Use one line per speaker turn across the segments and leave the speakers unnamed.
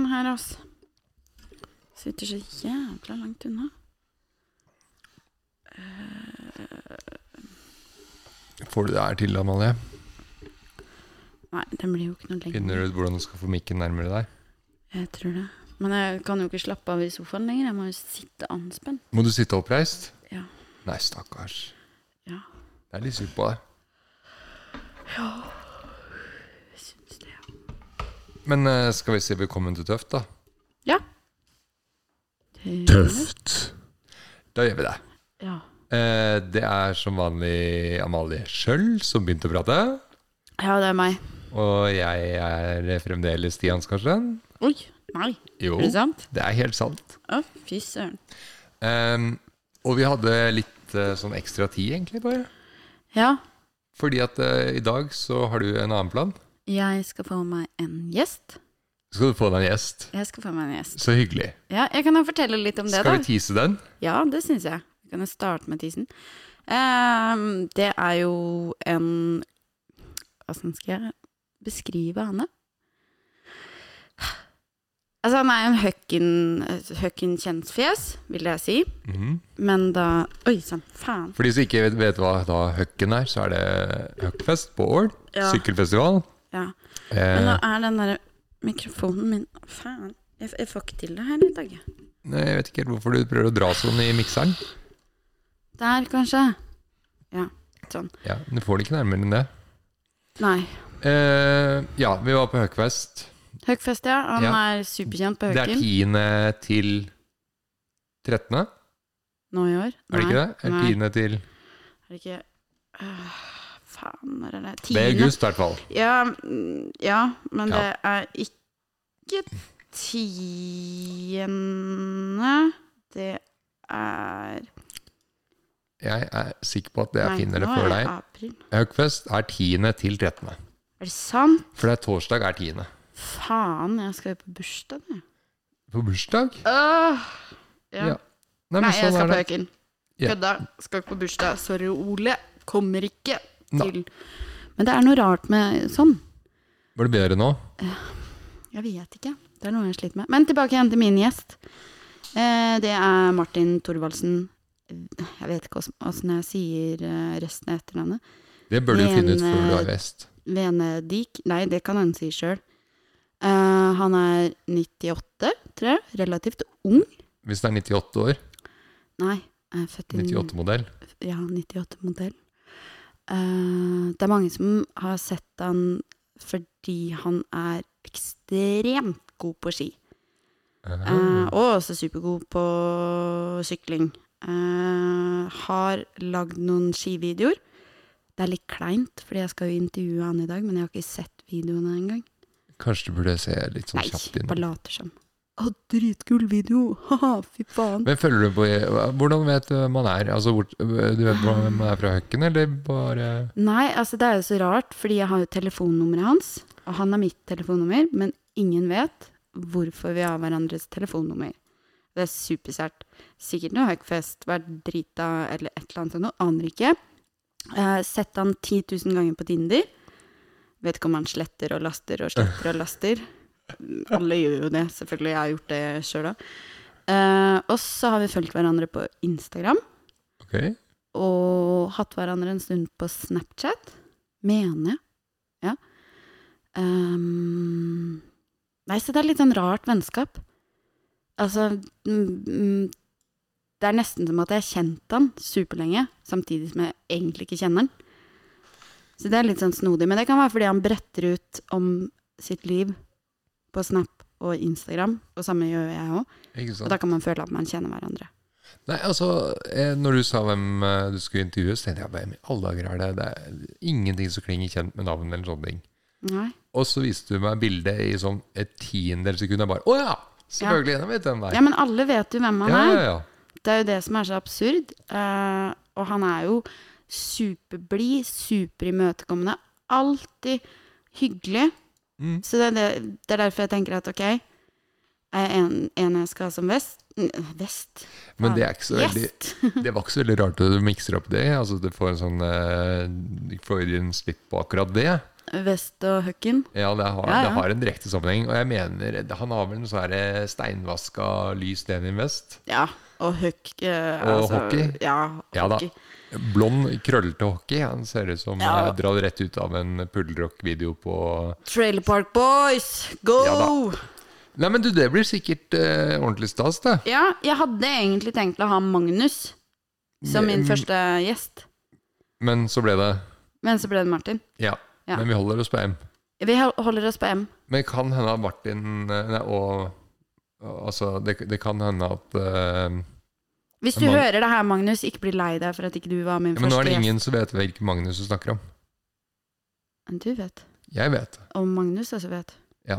her, altså. Sitter så jævla langt unna.
Får du det her til, Amalie?
Nei, den blir jo ikke noe
Finner
lenger.
du ut hvordan du skal få mikken nærmere deg?
Jeg tror det. Men jeg kan jo ikke slappe av i sofaen lenger. Jeg må jo sitte anspent.
Må du sitte oppreist?
Ja.
Nei, stakkars.
Ja,
Det er litt sykt på deg.
jeg syns det. ja.
Men eh, skal vi si velkommen til Tøft, da?
Ja.
Tøft. Da gjør vi det.
Ja.
Eh, det er som vanlig Amalie Schjøll som begynte å prate.
ja, det er meg.
Og jeg er fremdeles Stian Skarstein.
Oi. Nei.
Jo,
Er det sant?
det er helt sant.
Å, fy søren.
Ehm, og vi hadde litt eh, sånn ekstra tid, egentlig, bare.
Ja,
Fordi at eh, i dag så har du en annen plan.
jeg skal få meg en gjest.
Skal du få deg en gjest?
Jeg skal få meg en gjest.
Så hyggelig.
Ja, jeg kan jo fortelle litt om det, da.
Skal vi tease den?
Ja, det syns jeg. Vi kan jo starte med tisen. Ehm, det er jo en Åssen skal jeg beskrive henne? Altså, han er en høkken, høkken kjentfjes, vil jeg si.
Mhm.
Men da Oi sann, faen.
For de som ikke vet, vet hva da høkken er, så er det høkkfest på Ål.
Ja.
Sykkelfestival.
Ja. Men nå
Eh,
er den derre mikrofonen min Faen. Jeg, jeg får ikke til det her i dag. jeg.
nei, jeg vet ikke helt hvorfor du prøver å dra sånn i mikseren.
Der, kanskje. Ja. Sånn.
Ja, men Du får det ikke nærmere enn det.
Nei.
Eh, ja, vi var på høkkfest.
Høgfest, ja. Han
Ja.
er superkjent på
Det er
Høkken
10. til 13.
nå i år.
Er det ikke det? Er
Nei.
10. til
Er det ikke øh, Faen, når er det?
Det
Tiende?
er august, i hvert fall.
Ja, mm, ja men
Ja.
det er ikke tiende Det er
Jeg er sikker på at jeg
Nei,
finner det
nå
for
er det
deg.
april.
Høgfest er 10. til 13.
Er det sant?
For det er torsdag er 10.
Faen, jeg skal jo på bursdag, jeg.
På bursdag?
Åh, ja.
Ja, Nei, men
Nei, jeg
sånn
skal
er
på
det.
Øken.
Ja.
Kødda. Skal ikke på bursdag. Sorry, Ole. Kommer ikke
Nei.
til Men det er noe rart med sånn.
Var det bedre nå?
Jeg vet ikke. Det er noe jeg sliter med. Men tilbake igjen til min gjest. Eh, det er Martin Thorvaldsen. Jeg vet ikke åssen jeg sier eh, resten av etternavnet.
Det bør du jo finne
Men,
ut før du
eh,
er vest.
Venedik. Nei, det kan han si sjøl. Eh, han er 98, tror jeg. Relativt ung.
Hvis det er 98 år,
Nei, jeg er født i
98-modell,
Ja, 98-modell. Eh, det er mange som har sett han fordi han er ekstremt god på ski. Eh, og også supergod på sykling. Eh, har lagd noen skivideoer. Det er litt kleint, fordi jeg skal jo intervjue han i dag, men jeg har ikke sett videoene engang.
kanskje du burde se litt sånn
Nei,
kjapt inn.
bare later som. Å, dritkul video! Ha-ha, fy faen.
Men følger du på Hvordan vet du hvem man er? Altså, hvor, du vet hvordan man er fra høkken, eller bare
Nei, altså det er jo så rart, fordi jeg har jo telefonnummeret hans, og han har mitt telefonnummer, men ingen vet hvorfor vi har hverandres telefonnummer. Det er supersært. Sikkert noe høgfest, vært drita eller et eller annet sånt, noe, aner ikke. Eh, sett han 10 000 ganger på Tinder. Vet ikke om han sletter og laster og sletter og laster. Alle gjør jo det, selvfølgelig. Jeg har gjort det sjøl òg. Eh, og så har vi fulgt hverandre på Instagram
Ok.
og hatt hverandre en stund på Snapchat, mener jeg. Ja. Ehm, nei, så det er litt sånn rart vennskap. Altså mm, mm, Det er nesten som at jeg har kjent han superlenge, samtidig som jeg egentlig ikke kjenner han. Så det er litt sånn snodig. Men det kan være fordi han bretter ut om sitt liv på Snap og Instagram, og samme gjør jeg òg.
Ikke
Og
sant.
da kan man føle at man kjenner hverandre.
Nei, altså, eh, når du sa hvem eh, du skulle intervjue, så tenkte jeg hvem i alle dager er det? Det er ingenting som klinger kjent med navn eller sånne ting.
Nei.
Og så viste du meg bildet i sånn et tiendedels sekund. Jeg bare Å ja! Selvfølgelig! Jeg vet hvem det
Ja,
er.
men alle vet jo hvem han
Ja,
er.
ja, ja.
Det er jo det som er så absurd. eh, og han er jo superblid, superimøtekommende. Alltid hyggelig.
Mm.
Så det er, det, det er derfor jeg tenker at ok, er jeg en, en jeg skal ha som vest N- Vest? Faen.
Men det, er ikke så veldig,
Gjest!
det var ikke så veldig rart at du mikser opp det. Altså, du får en sånn eh, Freudian slip på akkurat det.
Vest og høkken.
Ja, det har,
Ja, ja.
det har en direkte sammenheng. Og jeg mener, det- han har vel en sånn her steinvaska lys denim vest.
Ja, og høkk. eh,
Og hockey.
Ja,
Ja da.
hockey.
Blond, krøllete hockey. Han ser ut som
Ja.
eh, dratt rett ut av en puddelrock-video på
Trailer Park Boys, go!
Ja
Ja,
da. Nei, men du, det blir sikkert eh, ordentlig stas, det.
jeg hadde egentlig tenkt å ha Magnus som min
Mm.
første gjest,
Men så ble det
men så ble det Martin.
ja.
Ja.
Men vi holder oss på M.
Vi hel- holder oss på M.
Men kan hende at Martin eh, nei, og, og Altså, det, det kan hende at eh,
Hvis du
Mag-
hører det her, Magnus, ikke bli lei deg for at ikke du var min
ja, Men nå
første
er det
gjest.
ingen som vet hvilken Magnus du snakker om.
Men Du vet.
Jeg vet.
Og Magnus også vet.
Ja.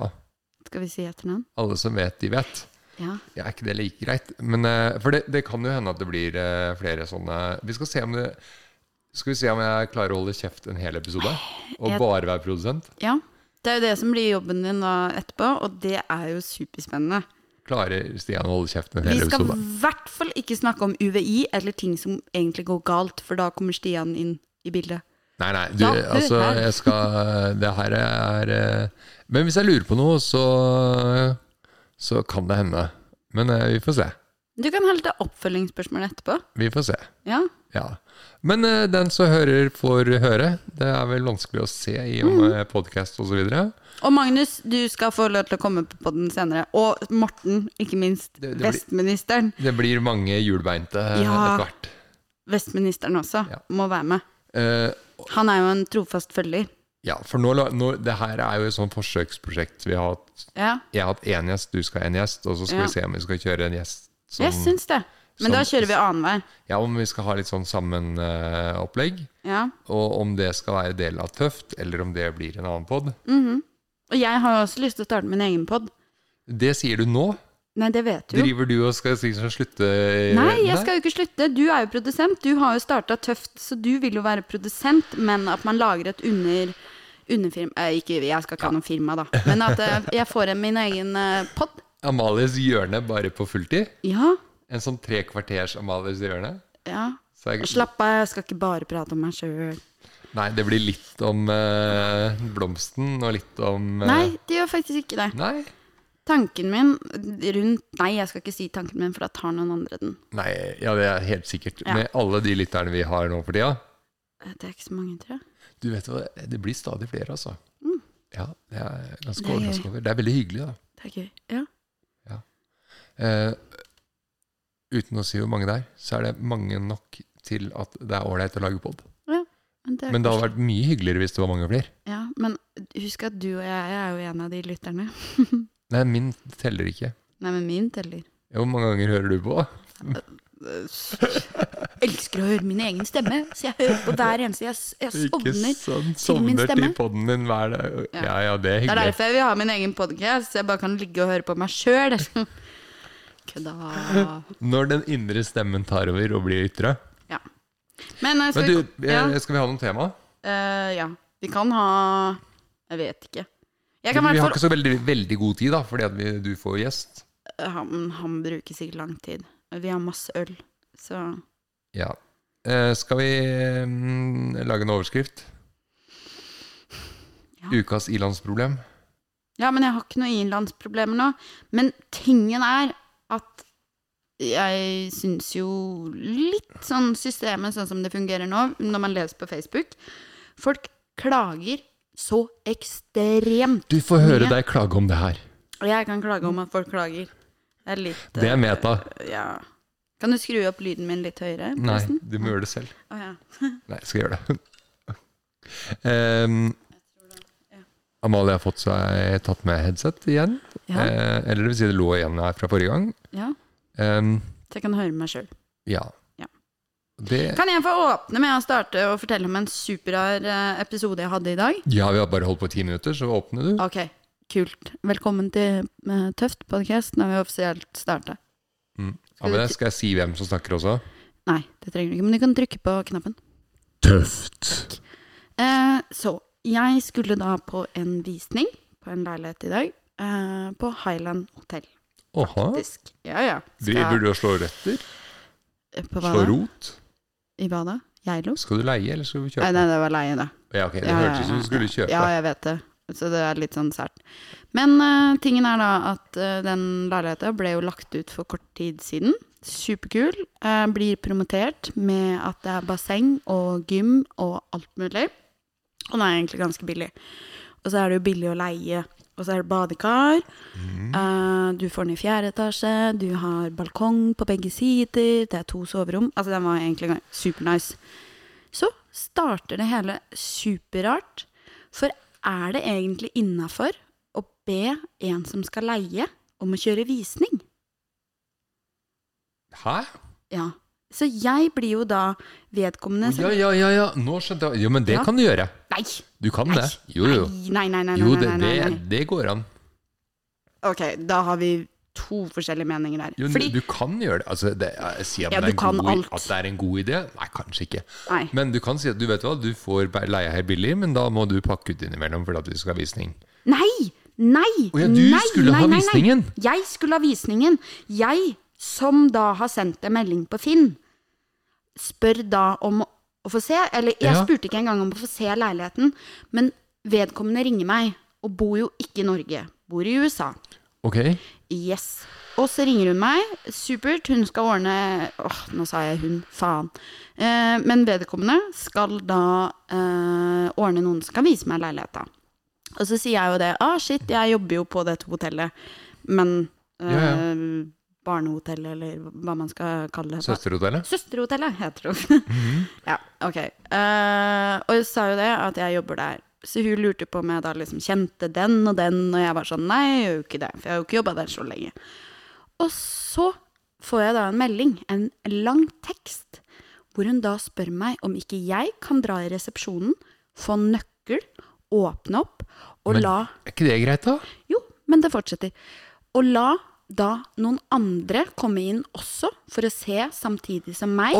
Skal vi si etternavn?
Alle som vet, de vet.
Ja.
Ja, er ikke det like greit? Men, eh, for det, det kan jo hende at det blir eh, flere sånne Vi skal se om det Skal vi se om jeg klarer å holde kjeft en hel episode? Og
Jeg-
bare være produsent?
ja. Det er jo det som blir jobben din da etterpå, og det er jo superspennende.
Klarer Stian å holde kjeft en
Vi
hel
skal
episode?
i hvert fall ikke snakke om UVI eller ting som egentlig går galt, for da kommer Stian inn i bildet.
Nei, nei. Du,
Ja, du,
altså,
her.
jeg skal Det her er eh, Men hvis jeg lurer på noe, så Så kan det hende. Men eh, vi får se.
Du kan heller ta oppfølgingsspørsmål etterpå.
Vi får se.
Ja.
Ja. Men eh, den som hører, får høre. Det er vel vanskelig å se i om mm. podkast osv.
Og Magnus, du skal få lov til å komme på den senere. Og Morten, ikke minst.
Det- det blir-
Vestministeren.
Det blir mange hjulbeinte eh,
Ja.
etter hvert.
Vestministeren også
Ja.
må være med.
Eh,
Han er jo en trofast følger.
ja, for nå, la- nå, det her er jo et sånt forsøksprosjekt. Vi har hatt,
Ja,
jeg har hatt én gjest, du skal ha én gjest, og så skal
Ja.
vi se om vi skal kjøre en gjest som,
jeg syns det. Men
som-
da kjører vi annenhver.
Ja, om vi skal ha litt sånn sammen eh, opplegg.
Ja.
Og om det skal være del av Tøft, eller om det blir en annen pod.
Og jeg har jo også lyst til å starte min egen pod.
Det sier du nå.
Nei, det vet Mm. du jo.
Driver du og skal si som slutte
Nei, jeg skal jo ikke slutte. Du er jo produsent. Du har jo starta tøft, så du vil jo være produsent, men at man lager et under... Underfirma eh, Ikke jeg skal ikke ha noe firma, da. Men at eh, jeg får en- min egen eh, pod.
Amalies hjørne bare på fulltid.
Ja.
En sånn tre kvarters Amalies hjørne.
ja.
Så jeg,
Slapp av, jeg skal ikke bare prate om meg sjøl.
Nei, det blir litt om eh, blomsten, og litt om eh,
Nei, det gjør faktisk ikke det.
Nei.
Tanken min rundt Nei, jeg skal ikke si tanken min, for da tar noen andre den.
Nei, ja, det er helt sikkert.
Ja.
Med alle de lytterne vi har nå for tida.
Eh, Det er ikke så mange, tror jeg.
Du vet hva, det blir stadig flere, altså.
Mm.
Ja, det er jeg
Det
ganske
er gøy.
overrasket over. Det er veldig hyggelig, da.
Det er gøy. Ja.
Eh, uten å si hvor mange det er, så er det mange nok til at det er ålreit å lage pod.
Men det, er
Men det hadde
kanskje-
vært mye hyggeligere hvis det var mange flere.
ja, men husk at du og jeg er jo en av de lytterne.
Nei, min teller ikke.
Nei, men min teller.
Ja, Hvor mange ganger hører du på?
Elsker å høre min egen stemme, så jeg hører på hver eneste. Jeg, s- jeg sovner.
sånn
til min
sovner til
stemme.
poden din hver dag.
Ja.
Ja, ja, det er
Det er
hyggelig.
derfor jeg vil ha min egen podkast, så jeg bare kan ligge og høre på meg sjøl. Kødda.
Når den indre stemmen tar over og blir ytre.
Men, eh, skal
Men du,
vi- ja.
eh, skal vi ha noen tema?
Eh, ja. Vi kan ha Jeg vet ikke. Jeg
Vi
kan i
har
hvert
ikke så veldig, veldig god tid, da, fordi at vi, du får gjest.
fall han, han bruker sikkert lang tid. Vi har masse øl, så
Ja. Eh, skal vi mm, lage en overskrift?
Ja.
Ukas ilandsproblem.
Ja, men jeg har ikke noen innlandsproblemer nå. Men tingen er at jeg syns jo litt sånn systemet, sånn som det fungerer nå, når man leser på Facebook Folk klager så ekstremt.
Du får
høre
høre
Mye.
deg klage om det her.
Og jeg kan klage om at folk klager. Det er litt
Det er meta.
eh, Ja. Kan du skru opp lyden min litt høyere?
Nei,
forresten?
du må gjøre det selv.
Å, ja.
Nei, jeg skal gjøre det. Em, Amalie har fått seg tatt med headset igjen.
Ja.
Eh, eller det vil si det lå igjen her fra forrige gang.
ja.
Em,
Så jeg kan høre meg sjøl.
ja.
Ja.
Det,
Kan jeg få åpne med å starte og fortelle om en superrar eh, episode jeg hadde i dag?
ja, vi har bare holdt på i ti minutter, så åpner du.
Ok, kult. Velkommen til eh, Tøft podcast når vi offisielt starter.
Ja, men det skal jeg si hvem som snakker også?
Nei, det trenger du ikke, men du kan trykke på knappen.
Tøft.
Eh, så, jeg skulle da på en visning på en leilighet i dag, eh, på Highland Hotel,
Åha.
faktisk. Ja, ja.
Driver du og slår røtter?
På hva
Slår
da?
rot?
I hva da? Geilo?
Skal du leie, eller skal vi kjøpe?
Nei, nei, det var leie, da.
Ja, ok, Det
Ja,
hørtes
ja,
ut som
ja,
du skulle kjøpe.
Ja, jeg vet det. Så det er litt sånn sært. Men eh, tingen er da at eh, den leiligheten ble jo lagt ut for kort tid siden. Superkul. Eh, blir promotert med at det er basseng og gym og alt mulig. Og den er egentlig ganske billig. Og så er det jo billig å leie. Og så er det badekar. Eh, du får den i fjerde etasje. Du har balkong på begge sider. Det er to soverom. Altså, den var egentlig supernice. Så starter det hele superrart. For er det egentlig innafor å be en som skal leie, om å kjøre visning?
Hæ?
Ja. Så jeg blir jo da vedkommende som
Ja, ja, ja, ja, nå skjønte jeg. Jo, men det
Ja.
kan du gjøre.
Nei!
Du kan
Nei,
det. Jo, jo.
Nei, nei, nei. nei,
Jo,
nei,
det,
nei,
det,
nei, nei.
det går an.
Ok, da har vi to forskjellige meninger der.
Jo,
Fordi
du kan gjøre det. Altså, det jeg sier at,
Ja,
det
du
er en
kan
god,
alt.
at det er en god idé? Nei, kanskje ikke.
Nei.
Men du kan si at du vet hva, du får be- leie her billig, men da må du pakke ut innimellom for at vi skal ha visning.
Nei! Nei!
Å ja, du
nei,
skulle
nei,
ha
nei, nei.
visningen.
Jeg skulle ha visningen. Jeg, som da har sendt en melding på Finn, spør da om å få se Eller jeg
Ja.
spurte ikke engang om å få se leiligheten, men vedkommende ringer meg, og bor jo ikke i Norge. Bor i USA.
Ok?
Yes. Og så ringer hun meg. Supert, hun skal ordne Åh, nå sa jeg hun. Faen. Eh, men vedkommende skal da eh, ordne noen som kan vise meg leiligheta. Og så sier jeg jo det. Ah, shit, jeg jobber jo på dette hotellet. Men eh,
Ja,
Barnehotell, eller hva man skal kalle det.
Søsterhotellet?
Søsterhotellet heter det. ja, ok. Eh, og hun sa jo det, at jeg jobber der. Så hun lurte på om jeg da liksom kjente den og den, og jeg var sånn nei, jeg gjør jo ikke det, for jeg har jo ikke jobba der så lenge. Og så får jeg da en melding, en lang tekst, hvor hun da spør meg om ikke jeg kan dra i resepsjonen, få nøkkel, åpne opp og
Men-
la
Er ikke det greit, da?
jo, men det fortsetter. Og la da noen andre komme inn også, for å se samtidig som meg.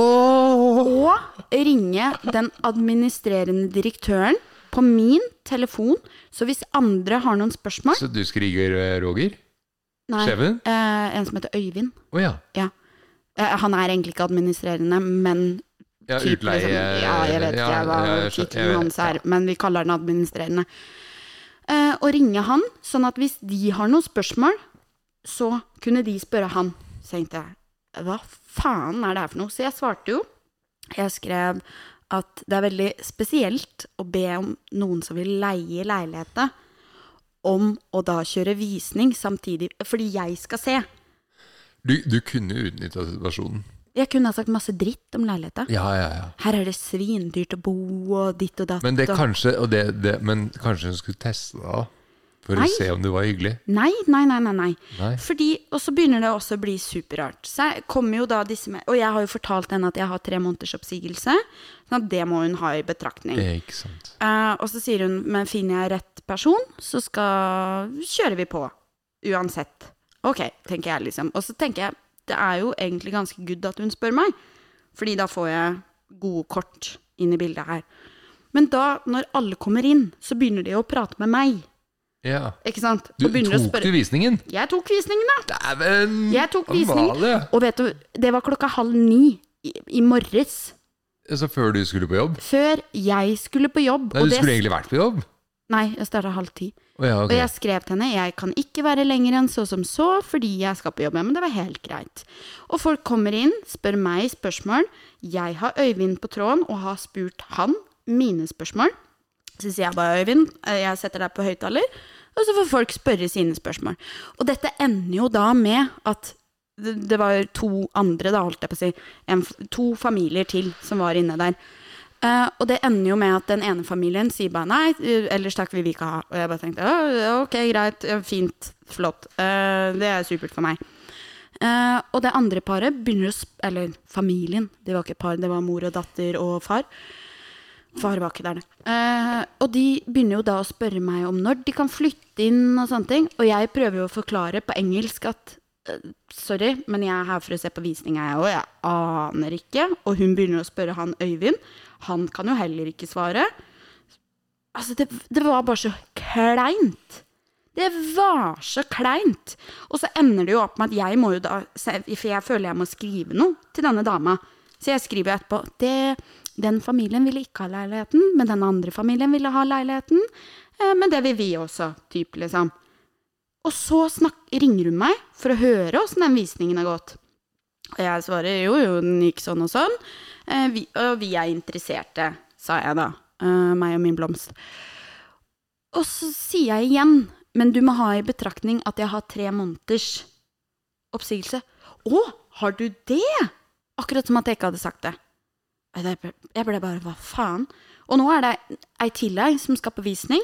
Og ringe den administrerende direktøren på min telefon. Så hvis andre har noen spørsmål
Så du skriker eh, Roger?
Nei,
Skjeven?
eh, en som heter Øyvind.
Å ja.
Ja. Eh, han er egentlig ikke administrerende, men
ja.
typ,
Utleie eh,
liksom. Ja, jeg vet ikke jeg, hva
jeg skjø- jeg
tittelen
vet.
hans er, men vi kaller den administrerende. Eh, og ringe han, sånn at hvis de har noen spørsmål, så kunne de spørre han. Så tenkte jeg, hva faen er det her for noe? Så jeg svarte jo. Jeg skrev at det er veldig spesielt å be om noen som vil leie leiligheter, om å da kjøre visning samtidig, fordi jeg skal se.
Du, du kunne utnytta situasjonen.
Jeg kunne ha sagt masse dritt om leiligheten.
Ja, ja, ja.
Her er det svindyrt å bo, og ditt og datt.
Men, det
og-
kanskje, og det, det, men kanskje hun skulle teste deg, da? For
Nei.
å se om du var hyggelig?
Nei, nei, nei, nei. nei.
Nei.
Fordi, og så begynner det også å bli superrart. Så jeg kommer jo da disse med, Og jeg har jo fortalt henne at jeg har tre måneders oppsigelse, så det må hun ha i betraktning.
Eh, Ikke sant.
Eh, og så sier hun, men finner jeg rett person, så skal, kjører vi på. Uansett. Ok, tenker jeg liksom. Og så tenker jeg, det er jo egentlig ganske good at hun spør meg. Fordi da får jeg gode kort inn i bildet her. Men da, når alle kommer inn, så begynner de å prate med meg.
Ja.
Ikke sant?
Du,
Og begynner å
tok du
spørre.
visningen?
Jeg tok visningen, da.
Dæven!
Jeg tok
Amalie!
visningen. Og vet du, det var klokka halv ni i, i morges.
Så Altså, før du skulle på jobb?
Før jeg skulle på jobb.
Nei,
og
du
det-
skulle egentlig vært på jobb?
Nei, jeg starta halv ti.
Å ja, ok.
Og jeg skrev til henne jeg kan ikke være lenger enn så som så fordi jeg skal på jobb, ja, men det var helt greit. Og folk kommer inn, spør meg spørsmål. Jeg har Øyvind på tråden og har spurt han mine spørsmål. Så sier jeg bare Øyvind, eh, jeg setter deg på høyttaler, og så får folk spørre sine spørsmål. Og dette ender jo da med at det det var to andre, da, holdt jeg på å si, en, f- to familier til som var inne der. Eh, og det ender jo med at den ene familien sier bare nei, eh, ellers takk vil vi ikke ha. Og jeg bare tenkte «Å, ok, greit, ja, fint, flott. Eh, det er supert for meg. Eh, og det andre paret begynner å sp Eller familien, det var ikke par, det var mor og datter og far. Far var ikke der, nei. Eh, og de begynner jo da å spørre meg om når de kan flytte inn og sånne ting. Og jeg prøver jo å forklare på engelsk at eh, sorry, men jeg er her for å se på visninga, jeg òg. Jeg aner ikke. Og hun begynner å spørre han Øyvind. Han kan jo heller ikke svare. Altså, det, det var bare så kleint. Det var så kleint. Og så ender det jo opp med at jeg må jo da se- For jeg føler jeg må skrive noe til denne dama. Så jeg skriver etterpå det Den familien ville ikke ha leiligheten, men den andre familien ville ha leiligheten. Eh, men det vil vi også, typ, liksom. Og så snak, ringer hun meg for å høre åssen den visningen har gått. Og jeg svarer jo, jo, den gikk sånn og sånn. Eh, vi, og vi er interesserte, sa jeg da. Eh, meg og min blomst. Og så sier jeg igjen, men du må ha i betraktning at jeg har tre måneders oppsigelse. Å, har du det? Akkurat som at jeg ikke hadde sagt det. Jeg ble- Jeg ble bare, hva faen? Og nå er det ei til ei som skal på visning.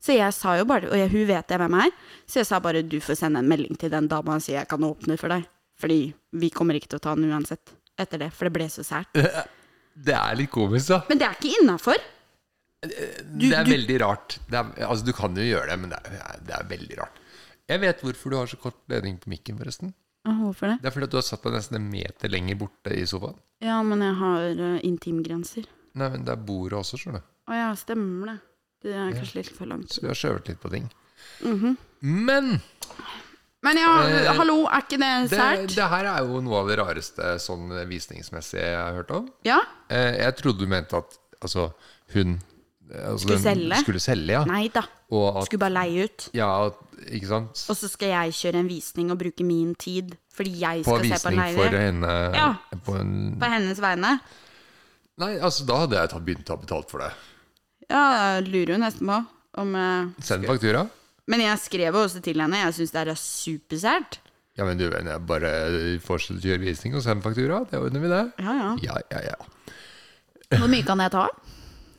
Så jeg sa jo bare, og jeg, hun vet jeg hvem er, så jeg sa bare du får sende en melding til den dama og si jeg kan åpne for deg. Fordi vi kommer ikke til å ta den uansett etter det, for det ble så sært.
Eh. Det er litt komisk, da.
Men det er ikke innafor.
det er veldig rart. Det er, altså, du kan jo gjøre det, men det er, det er veldig rart. Jeg vet hvorfor du har så kort ledning på mikken, forresten.
Hvorfor det?
Det er fordi at du har satt deg nesten en meter lenger borte i sofaen.
Ja, men jeg har eh, intimgrenser.
Nei, men det er bordet også, skjønner du.
Å ja, stemmer det. Det er kanskje litt for langt.
Så vi har skjøvet litt på ting.
Mhm.
Men
Men ja,
Eh,
hallo, er ikke det
det,
sært?
det her er jo noe av det rareste sånn visningsmessig jeg har hørt om.
Ja?
Eh, jeg trodde du mente at altså, hun eh, altså,
Skulle
den
selge?
Skulle selge, ja.
Nei da.
Og at,
Skulle bare leie ut.
ja, at, ikke sant?
Og så skal jeg kjøre en visning og bruke min tid fordi jeg
På
skal se på en
visning for eh,
leilighet.
henne eh,
Ja.
på en
På hennes vegne.
Nei, altså, da hadde jeg tatt, begynt å ha betalt for det.
Ja, jeg lurer jo nesten på om eh,
Send faktura.
Men jeg skrev jo også til henne. Jeg syns det her er supersært.
Ja, men du, venn, jeg bare eh, fortsetter å gjøre visning og send faktura. Det ordner vi, det.
Ja, ja.
Ja, ja, ja.
Hvor mye kan jeg ta?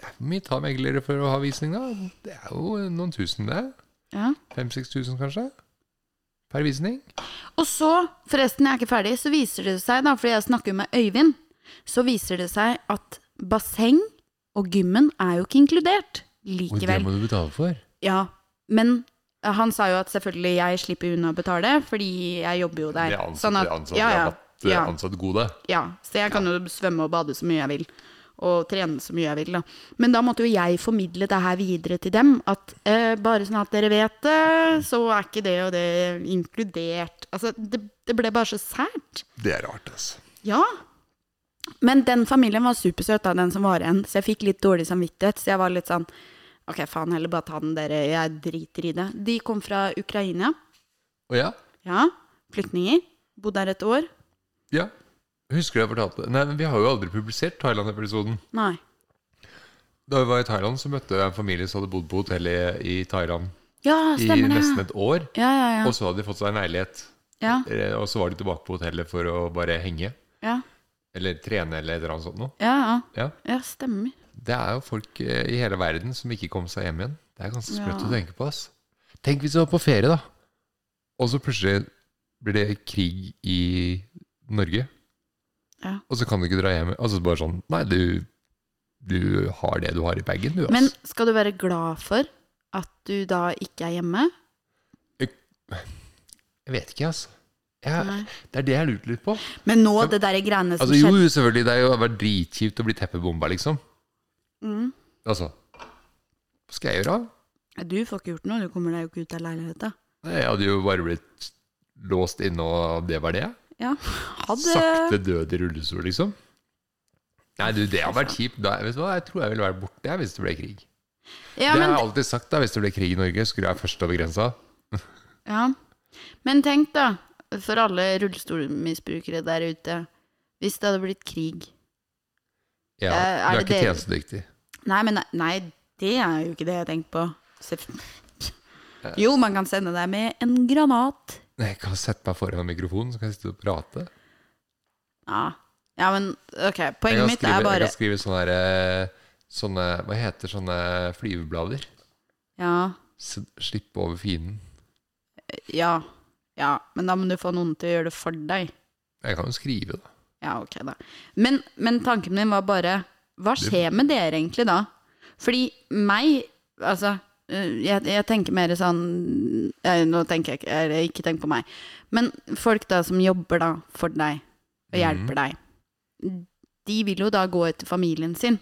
Hvor mye tar meglere for å ha visning, da? Det er jo noen tusen, det.
Ja.
5000-6000, tusen, kanskje? Per visning.
Og så, forresten, jeg er ikke ferdig, så viser det seg, da, fordi jeg snakker jo med Øyvind, så viser det seg at basseng og gymmen er jo ikke inkludert
Og det
likevel.
må du betale for.
Ja, men eh, han sa jo at selvfølgelig jeg slipper unna å betale, fordi jeg jobber jo der.
Det er ansatt,
Sånn at-
det er ansatt,
ja, ja,
rabatt, eh, det er
ja.
ansatt gode.
Ja, så jeg kan jo svømme og bade så mye jeg vil, og trene så mye jeg vil, da. Men da måtte jo jeg formidle det her videre til dem, at eh, bare sånn at dere vet det, så er ikke det og det inkludert. Altså, det, det ble bare så sært.
Det er rart, altså.
Ja. Men den familien var supersøt, da, den som var igjen, så jeg fikk litt dårlig samvittighet, så jeg var litt sånn Ok, faen, heller bare ta den, dere. Jeg driter i det. De kom fra Ukraina.
Å ja?
Ja. Flyktninger. Bodde der et år.
Ja. Husker du jeg fortalte Nei, men vi har jo aldri publisert Thailand-episoden.
Nei.
Da vi var i Thailand, så møtte jeg en familie som hadde bodd på hotell i, i Thailand
Ja,
i
stemmer det.
nesten et år.
Ja, ja, ja.
Og så hadde de fått seg en leilighet.
ja,
Eh, Og så var de tilbake på hotellet for å bare henge.
ja.
Eller trene, eller et eller annet sånt noe.
Ja, ja.
Ja.
Ja, stemmer.
Det er jo folk eh, i hele verden som ikke kom seg hjem igjen. Det er ganske sprøtt
Ja.
å tenke på. ass. Tenk hvis du var på ferie, da. Og så plutselig blir det krig i Norge.
Ja.
Og så kan du ikke dra hjem. Altså bare sånn Nei, du, du har det du har i bagen, du, ass.
Men skal du være glad for at du da ikke er hjemme?
jeg vet ikke, altså. Jeg,
Nei. Altså,
det er det jeg lurte litt på.
Men nå, det der greiene som
Altså, jo,
skjedde
jo, selvfølgelig. Det er jo det har vært dritkjipt å bli teppebomba, liksom.
mm.
Altså Hva skal jeg gjøre? da?
Du får ikke gjort noe, du kommer deg jo ikke ut av leiligheta.
Nei, Jeg hadde jo bare blitt låst inne, og det var det.
Ja. Ha det.
Sakte død i rullestol, liksom. Nei, du, det har vært kjipt. Da, vet du hva? Jeg tror jeg ville vært borte jeg, hvis det ble krig.
Ja,
det har
men,
jeg alltid sagt. da, Hvis det ble krig i Norge, skulle jeg først over grensa.
ja. men tenk da, for alle rullestolmisbrukere der ute, hvis det hadde blitt krig
Ja,
Eh, er
du er
det
ikke
dere-
tjenestedyktig.
Nei, men nei, det er jo ikke det jeg tenker på. Selvf- Jo, man kan sende deg med en granat.
Nei, Jeg kan sette meg foran en mikrofon, så kan jeg sitte og prate.
Ja, ja men ok,
Jeg
poenget
kan
mitt
skrive,
er
jeg
bare
kan skrive sånne, her, eh, sånne Hva heter sånne flyveblader?
Ja,
S- Slippe over fienden.
Ja. Ja, men da må du få noen til å gjøre det for deg.
Jeg kan jo skrive, da.
Ja, ok, da. Men, men tanken min var bare Hva skjer med dere egentlig da? Fordi meg Altså, øh, jeg, jeg tenker mer sånn eh, Nå tenker jeg ikke eller Ikke tenk på meg. Men folk da som jobber da for deg, og hjelper
Mhm.
deg, de vil jo da gå etter familien sin.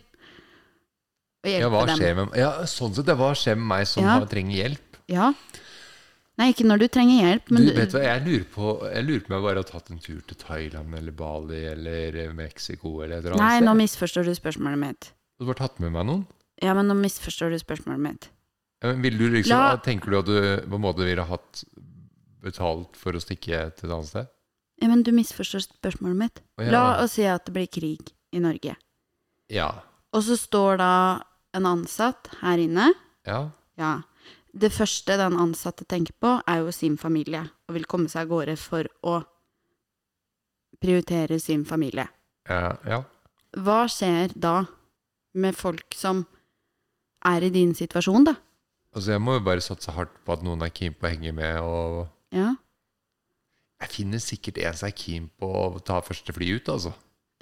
Og hjelpe
Ja, hva
dem.
skjer med, ja, sånn sett, ja, hva skjer med meg som
Ja.
har- trenger hjelp?
Ja, Nei, ikke når du trenger hjelp, men
du, vet du hva, jeg lurer på Jeg lurer på om jeg bare har tatt en tur til Thailand eller Bali eller eh, Mexico eller et eller
Nei, nå
annet sted.
misforstår du spørsmålet mitt.
Du har bare tatt med meg noen.
Ja, men nå misforstår du spørsmålet mitt.
Ja, men Vil du liksom,
La-
Tenker du at du på en måte ville hatt betalt for å stikke til et annet sted?
Ja, men du misforstår spørsmålet mitt.
Å, ja.
La oss si at det blir krig i Norge.
Ja.
Og så står da en ansatt her inne.
Ja.
Ja. Det første den ansatte tenker på, er jo sin familie, og vil komme seg av gårde for å prioritere sin familie.
Ja. ja.
Hva skjer da med folk som er i din situasjon, da?
Altså, jeg må jo bare satse hardt på at noen er keen på å henge med. Og
Ja,
jeg finner sikkert en som er keen på å ta første fly ut, altså.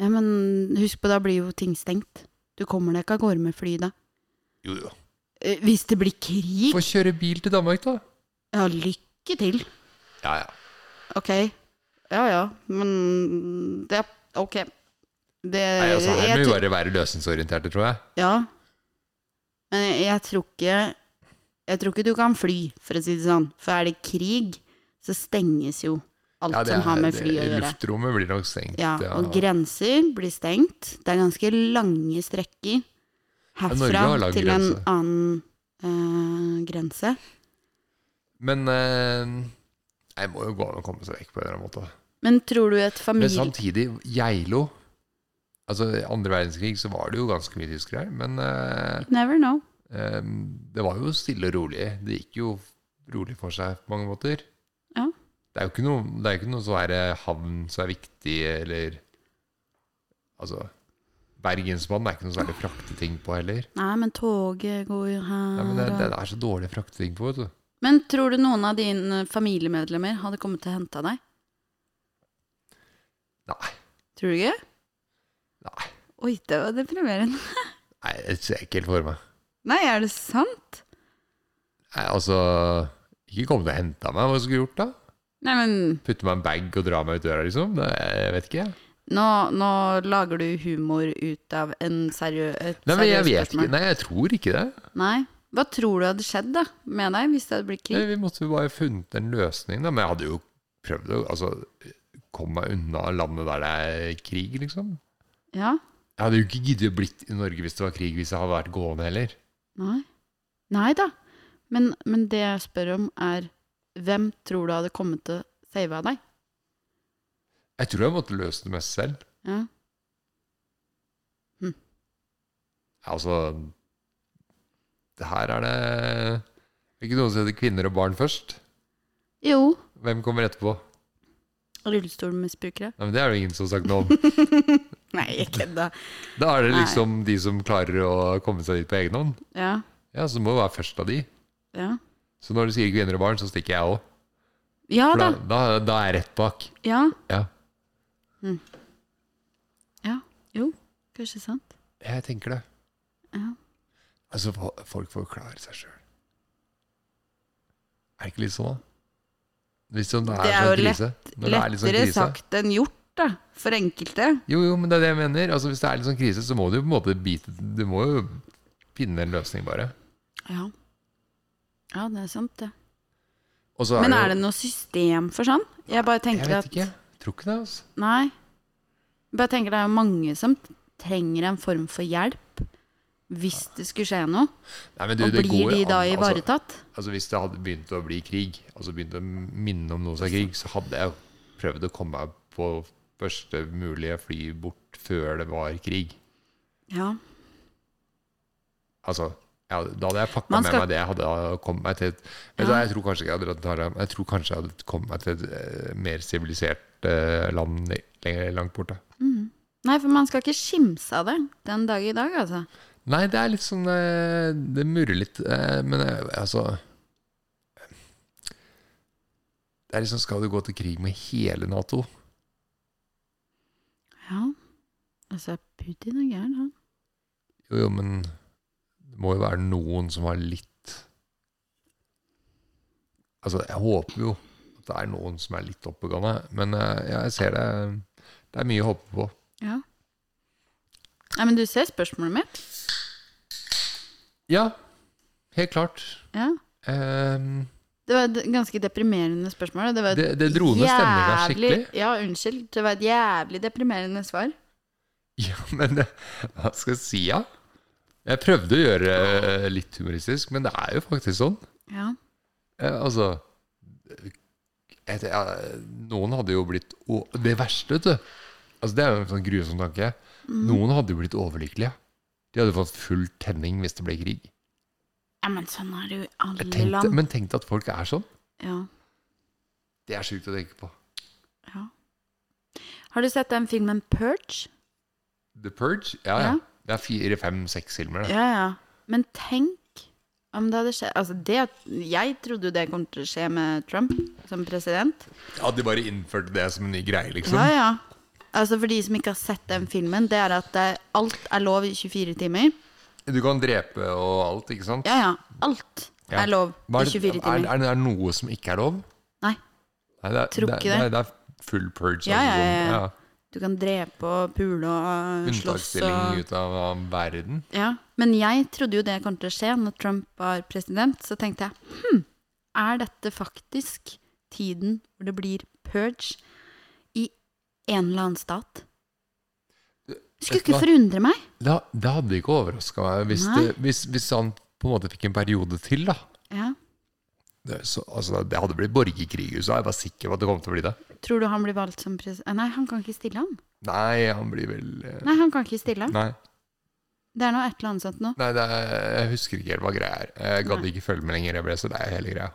ja men husk på, da blir jo ting stengt. Du kommer deg ikke av gårde med fly da.
Jo, jo.
Eh, Hvis det blir krig,
Få kjøre bil til Danmark, da.
ja, lykke til.
Ja, ja.
Ok. Ja, ja, men det Ok. Det
Nei, altså, her
Eh, jeg
må vi
tror-
bare være løsningsorienterte, tror jeg.
Ja. Men jeg, jeg tror ikke Jeg tror ikke du kan fly, for å si det sånn. For er det krig, så stenges jo alt
Ja, det
som har
er-
med
det-
fly å gjøre.
Luftrommet blir nok stengt.
Ja, og grenser blir stengt. Det er ganske lange strekker
Norge har
herfra
lang
til en
grense.
annen eh, grense.
Men eh, jeg må jo gå an å komme seg vekk på en eller annen måte.
Men tror du et
Men
familie...
samtidig, Geilo Altså, i andre verdenskrig så var det jo ganske mye tyskere her, men eh,
Never know.
eh, det var jo stille og rolig. Det gikk jo rolig for seg på mange måter.
Ja.
Det er jo ikke noe, det er jo ikke noe så er det havn som er viktig, eller Altså, Bergensbanen er ikke noe særlig å frakte ting på heller.
Nei, men toget går jo her
Nei, men det,
og-
det er så dårlig å frakte ting på, vet du.
Men tror du noen av dine familiemedlemmer hadde kommet til å hente deg?
Nei.
Tror du ikke?
Nei.
Oi, det var deprimerende.
Nei, det ser jeg ikke helt for meg.
Nei, er det sant?
Nei, altså Ikke komme til å hente meg. Hva skulle jeg gjort da?
Nei, men
Putte meg i en bag og dra meg ut døra, liksom? Det, jeg vet ikke, jeg.
nå, nå lager du humor ut av en seriø et
Nei, men jeg
seriøst
vet ikke.
spørsmål.
Nei, jeg tror ikke det.
Nei. Hva tror du hadde skjedd da, med deg, hvis det hadde blitt
Nei,
krig?
vi måtte jo bare funnet en løsning, da. Men jeg hadde jo prøvd å altså, komme meg unna landet der det er krig, liksom.
Ja?
Jeg hadde jo ikke giddet å blitt i Norge hvis det var krig, hvis jeg hadde vært gående heller.
Nei? Nei da. Men, men det jeg spør om, er hvem tror du hadde kommet til å save av deg?
Jeg tror jeg måtte løse det mest selv.
Ja.
Altså det Her er det ikke noen som heter kvinner og barn først.
Jo,
Hvem kommer etterpå?
rullestolmisbrukere.
Nei, men Det er det ingen som har sagt noe om.
Nei, jeg kødda.
Da er det liksom de som klarer å komme seg dit på egen hånd.
Ja,
Ja, Så det må jo være først av de.
ja.
Så når du sier kvinner og barn, så stikker jeg òg.
Ja
For
da.
da, da, da er jeg rett bak.
Ja. Mm.
Ja.
Ja. Jo, kanskje sant.
Jeg tenker det.
Ja.
Altså, fo- folk får klare seg sjøl. Er det ikke litt sånn, da? Hvis det er,
Det er
sånn
jo
krise. Når det er litt sånn
Lettere
krise.
sagt enn gjort, da. For enkelte.
Jo, jo, men det er det jeg mener. Altså, hvis det er litt sånn krise, så må du jo på en måte bite Du må jo finne en løsning, bare.
Ja. Ja, det er sant, det.
Og så
Men
jo-
er det noe system for sånn? Jeg bare
Jeg
tenker
vet
at
ikke. Tror ikke det, altså.
Nei. Jeg bare tenker det er jo mange som trenger en form for hjelp hvis det skulle skje noe.
Nei, men du,
Og
det går
blir de
an,
da
altså.
ivaretatt?
Altså Hvis det hadde begynt å bli krig, altså begynt å minne om noe som er krig, så hadde jeg jo prøvd å komme meg på første mulige fly bort før det var krig.
Ja.
Altså, ja, Da hadde jeg pakka
Man
med
skal-
meg det jeg hadde kommet meg til et Vet du hva, Jeg tror kanskje ikke jeg hadde dratt til Thailand. Jeg tror kanskje jeg hadde kommet meg til et eh, mer sivilisert eh, land le- lenger langt borte.
Mm. Nei, for man skal ikke skimse av det den dag i dag, altså.
Nei, det er litt sånn eh, Det murrer litt, eh, men eh, altså eh, Det er liksom Skal du gå til krig med hele Nato?
Ja. Altså, Putin er gæren, han.
Jo, jo, men det må jo være noen som har litt Altså, jeg håper jo at det er noen som er litt oppegående, men eh, ja, jeg ser det Det er mye å håpe på.
Ja. Nei, men du ser spørsmålet mitt.
Ja, helt klart.
Ja.
Ehm,
Det var et ganske deprimerende spørsmål. og Det, var et
Det- det dro ned stemninga
jævlig-
skikkelig.
Ja, unnskyld. Det var et jævlig deprimerende svar.
Ja, men eh, hva skal jeg si, ja? Jeg prøvde å gjøre det eh, litt humoristisk, men det er jo faktisk sånn.
Ja.
Eh, altså et, ja, Noen hadde jo blitt o- Det verste, vet du. Altså, det er jo en sånn grusom tanke.
Mm.
Noen hadde jo blitt overlykkelige. De hadde fått full tenning hvis det ble krig.
ja, men sånn er det jo i alle
Jeg tenkte,
land.
men tenk at folk er sånn.
Ja.
Det er sjukt å tenke på.
ja. Har du sett den filmen Purge?
The Purge? Ja, ja.
Ja.
Det er fire, fem, seks filmer. Det.
Ja, ja. Men tenk om det hadde skjedd Altså, det Jeg trodde jo det kom til å skje med Trump som president.
Ja, de bare innførte det som en ny greie, liksom.
Ja, ja. Altså, for de som ikke har sett den filmen, det er at eh, alt er lov i 24 timer.
Du kan drepe og alt, ikke sant?
Ja, ja. Alt
Ja.
er lov
Hva
i 24 timer.
Er, er, er det noe som ikke er lov?
Nei.
Nei, det er,
Tror ikke
det.
det.
er- det er full purge.
Ja, ja,
altså,
ja, ja.
sånn,
Du kan drepe og pule og øh, slåss
Unntaksstilling
og
ut av av verden.
ja. Men jeg trodde jo det kom til å skje når Trump var president. Så tenkte jeg hm, er dette faktisk tiden hvor det blir purge i en eller annen stat? Skulle
Vet du
ikke
hva?
forundre meg.
Da, det hadde ikke overraska meg hvis,
Nei.
det, hvis, hvis han på en måte fikk en periode til, da.
Ja.
Det, så, altså, det hadde blitt borgerkrig i USA, jeg var sikker på at det kom til å bli det.
Tror du han blir valgt som president? Nei, han kan ikke stille han.
Nei, han blir vel eh,
Nei, han kan ikke stille.
Nei.
Det er nå et eller annet sånt nå.
Nei, det er, jeg husker ikke helt hva greia er. Jeg gadd
Nei.
ikke følge med lenger, jeg ble så lei av hele greia.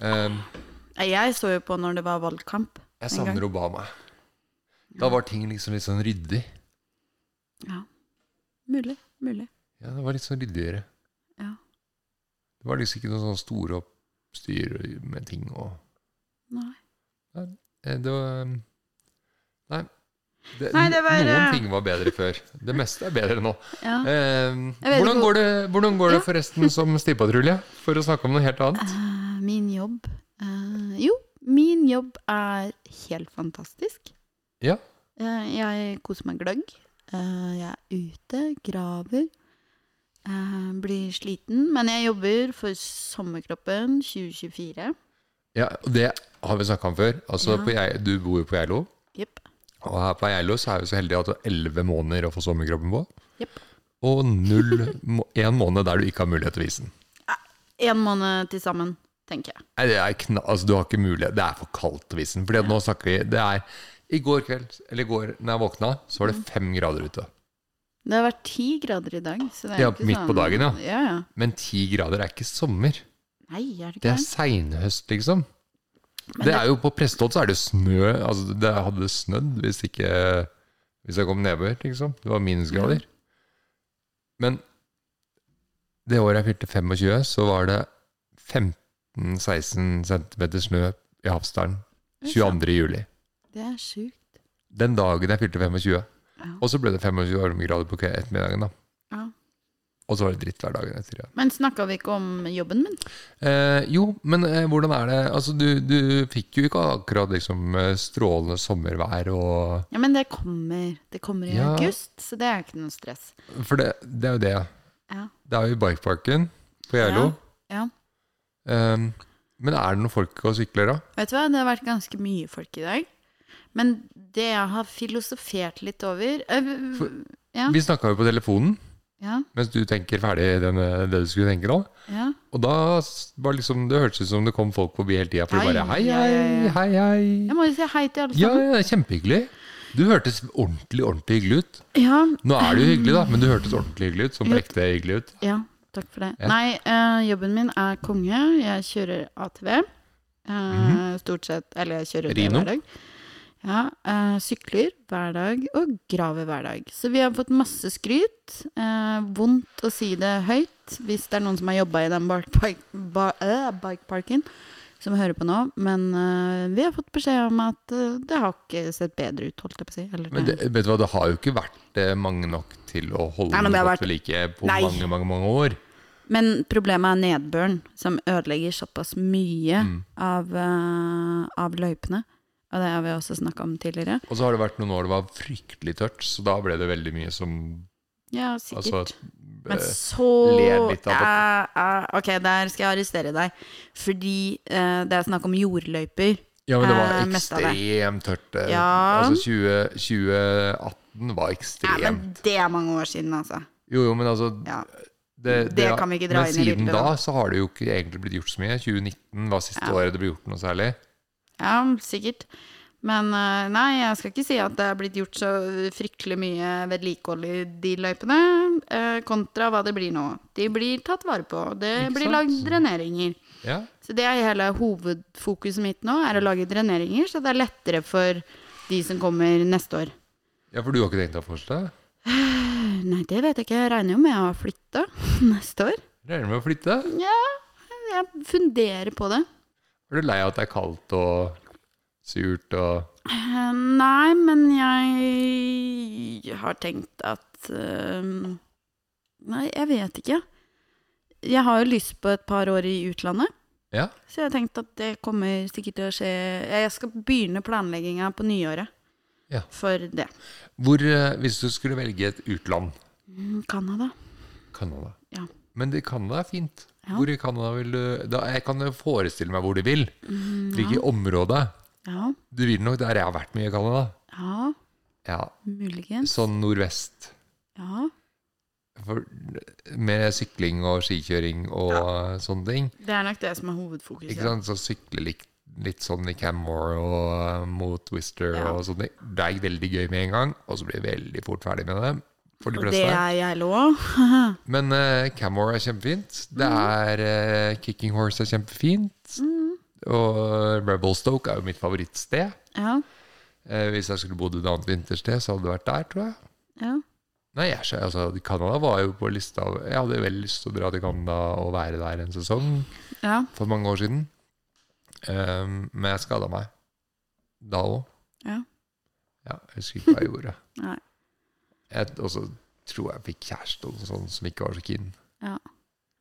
Um,
Nei, Jeg så jo på når det var valgkamp.
jeg
En gang.
savner Obama. Da var ting liksom litt sånn ryddig.
Ja. Mulig. Mulig.
Ja, det var litt sånn ryddigere.
Ja.
Det var liksom ikke noe sånn store oppstyr med ting og
Nei.
Eh, Det var Nei. Det,
Nei, det var,
noen
eh,
ting var bedre før. Det meste er bedre nå.
Ja.
Eh,
vet
hvordan,
ikke-
går det, hvordan går det
Ja.
forresten som stipatrulje? For å snakke om noe helt annet.
Eh, min jobb eh, Jo, min jobb er helt fantastisk.
Ja.
Eh, jeg koser meg gløgg. Eh, jeg er ute, graver. eh, blir sliten, men jeg jobber for Sommerkroppen 2024.
ja og det har vi snakka om før. Altså,
Ja.
på Gei- du bor jo på Geilo.
Jepp.
Og her på Geilo så er vi så heldige at du har elleve måneder å få sommerkroppen på.
Jepp.
Og null må- en måned der du ikke har mulighet til å vise den.
Én måned til sammen, tenker jeg.
Nei, det er kna altså, du har ikke mulighet. Det er for kaldt å vise den. Fordi at nå snakker vi Det er I går kveld, eller i går når jeg våkna, så var
Mm.
det fem grader ute.
Det har vært ti grader i dag. Så det er
Ja,
ikke
midt
sånn,
på dagen, ja.
ja, ja.
Men ti grader er ikke sommer.
Nei, er det ikke
Det er
det?
seinhøst, liksom.
Men
Det er jo På Prestholt så er det jo snø. Altså, det hadde snødd hvis ikke Hvis det kom nedbør, liksom. Det var minusgrader. Men det året jeg fylte 25, så var det 15-16 cm snø i Hafsdalen 22. juli.
Det er sjukt.
Den dagen jeg fylte 25.
Ja.
Og så ble det 25 varmegrader på ettermiddagen, da.
Ja.
Og så var det dritt hver dagen etter. Ja.
Men snakka vi ikke om jobben min?
Eh, jo, men eh, hvordan er det Altså, du, du fikk jo ikke akkurat liksom eh, strålende sommervær og
Ja, men det kommer. Det kommer i
Ja.
august, så det er ikke noe stress.
For det, det er jo det.
Ja.
Det er jo i Bikeparken på Geilo.
Ja.
Eh, men er det noen folk og sykler, da?
Vet du hva, det har vært ganske mye folk i dag. Men det jeg har filosofert litt over øh,
For-
Ja.
Vi snakka jo på telefonen
Ja,
mens du tenker ferdig den, eh, det du skulle tenke nå.
ja.
Og da s- var liksom, det hørtes ut som det kom folk forbi hele tida. For de
Hei,
bare hei,
ja,
hei,
ja, ja. sånn.
hei, hei.
Jeg må jo si hei til alle
Ja,
sammen.
ja, kjempehyggelig. Du hørtes ordentlig, ordentlig hyggelig ut.
Ja.
Nå er du hyggelig, da, men du hørtes ordentlig hyggelig ut. Som på
Jo.
ekte hyggelig ut.
ja, takk for det.
Ja.
Nei, øh, jobben min er konge. Jeg kjører ATV. øh, Stort sett. Eller jeg kjører det
Mhm. Rino?
hver dag. Ja, øh, sykler hver dag og graver hver dag. Så vi har fått masse skryt. Eh, vondt å si det høyt hvis det er noen som har jobba i den bikepark, ba, øh, bikeparken som hører på nå. Men eh, vi har fått beskjed om at eh, det har ikke sett bedre ut, holdt jeg på å si. Eller,
Men det, vet du hva, det har jo ikke vært eh, mange nok til å holde
Nei, men
den
det har
godt ved like på
Nei.
mange, mange mange år.
Men problemet er nedbøren, som ødelegger såpass mye
Mm.
av, eh, av løypene. Og det har vi også snakka om tidligere.
Og så har det vært noen år det var fryktelig tørt, så da ble det veldig mye som
Ja,
altså,
sikkert. Men
eh,
så
ler litt av
Eh, eh, Ok, der skal jeg arrestere deg. Fordi eh, det er snakk om jordløyper.
Ja, men det var
eh, mest av det.
ekstremt tørt. eh,
Ja.
Altså 20, 2018 var
Ja, men
ekstremt.
det er mange år siden, altså.
Jo, jo, men altså
Ja.
det,
Det kan vi ikke dra
men
inn i
siden
bildet,
da
da.
så har det jo ikke egentlig blitt gjort så mye. 2019 var siste
Ja.
året det ble gjort noe særlig.
Ja, sikkert. Men eh, nei, jeg skal ikke si at det er blitt gjort så fryktelig mye vedlikehold i de løypene, eh, kontra hva det blir nå. De blir tatt vare på. Det
Ikke
blir
sant?
lagd dreneringer.
Ja.
Så det er hele hovedfokuset mitt nå, er å lage dreneringer, så det er lettere for de som kommer neste år.
ja, for du har ikke tenkt deg å fortsette?
Nei, det vet jeg ikke. Jeg regner jo med å flytte neste år.
Regner med å flytte?
Ja, jeg funderer på det.
Er du lei av at det er kaldt og surt og
Eh, Nei, men jeg har tenkt at eh, Nei, jeg vet ikke. Jeg har jo lyst på et par år i utlandet,
Ja.
så jeg har tenkt at det kommer sikkert til å skje Jeg skal begynne planlegginga på nyåret
Ja.
for det.
Hvor, eh, hvis du skulle velge et utland
Mm, Canada.
Canada.
Ja.
Men det, Canada er fint.
Ja.
Hvor i Canada vil du da, Jeg kan jo forestille meg hvor du vil. Hvilket område.
Ja,
Du vil nok der jeg har vært mye i Canada.
ja,
Ja,
muligens.
sånn nordvest.
Ja.
For, med sykling og skikjøring og eh, sånne ting.
Det er nok det som er hovedfokuset.
Ikke sant? Så sykle litt, litt sånn i Canmore og eh, mot Wister
Ja.
og sånne ting. Det er veldig gøy med en gang, og så blir jeg veldig fort ferdig med det. For de
Og det
fleste.
er jeg lov.
Men uh, Camor er kjempefint. Det
Mm.
er eh, Kicking Horse er kjempefint. Og Rebelstoke er jo mitt favorittsted.
Ja,
Eh, hvis jeg skulle bodd et annet vintersted, så hadde det vært der, tror jeg.
ja.
Nei, jeg, skjø- altså, Canada var jo på lista av- Jeg hadde veldig lyst til å dra til Canada og være der en sesong
ja.
for mange år siden. Ehm, men jeg skada meg da òg.
Ja.
ja. Jeg husker ikke hva jeg gjorde.
Nei.
Jeg- Og så tror jeg jeg fikk kjæreste og sånn som ikke var så keen.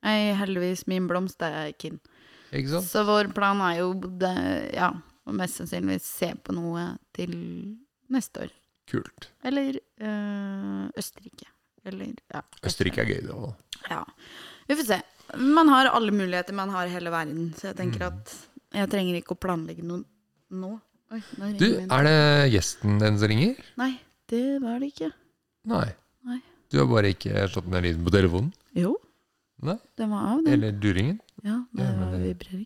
Nei, heldigvis min blomst er kinn.
Ikke sant?
Så vår plan er jo det, ja, å mest sannsynligvis se på noe til neste år.
Kult.
Eller øh, Østerrike. Eller ja.
Østerrike er gøy, det òg.
Ja. Vi får se. Man har alle muligheter, man har hele verden. Så jeg tenker
Mm.
at jeg trenger ikke å planlegge noe nå. Oi, nå ringer
Du,
min.
er det gjesten den som ringer?
Nei, det var det ikke.
Nei.
Nei.
Du har bare ikke slått ned lyden på telefonen?
Jo.
Nei.
Den var av, den.
Eller duringen?
Ja, det
Ja, men
var
det-
vibrering.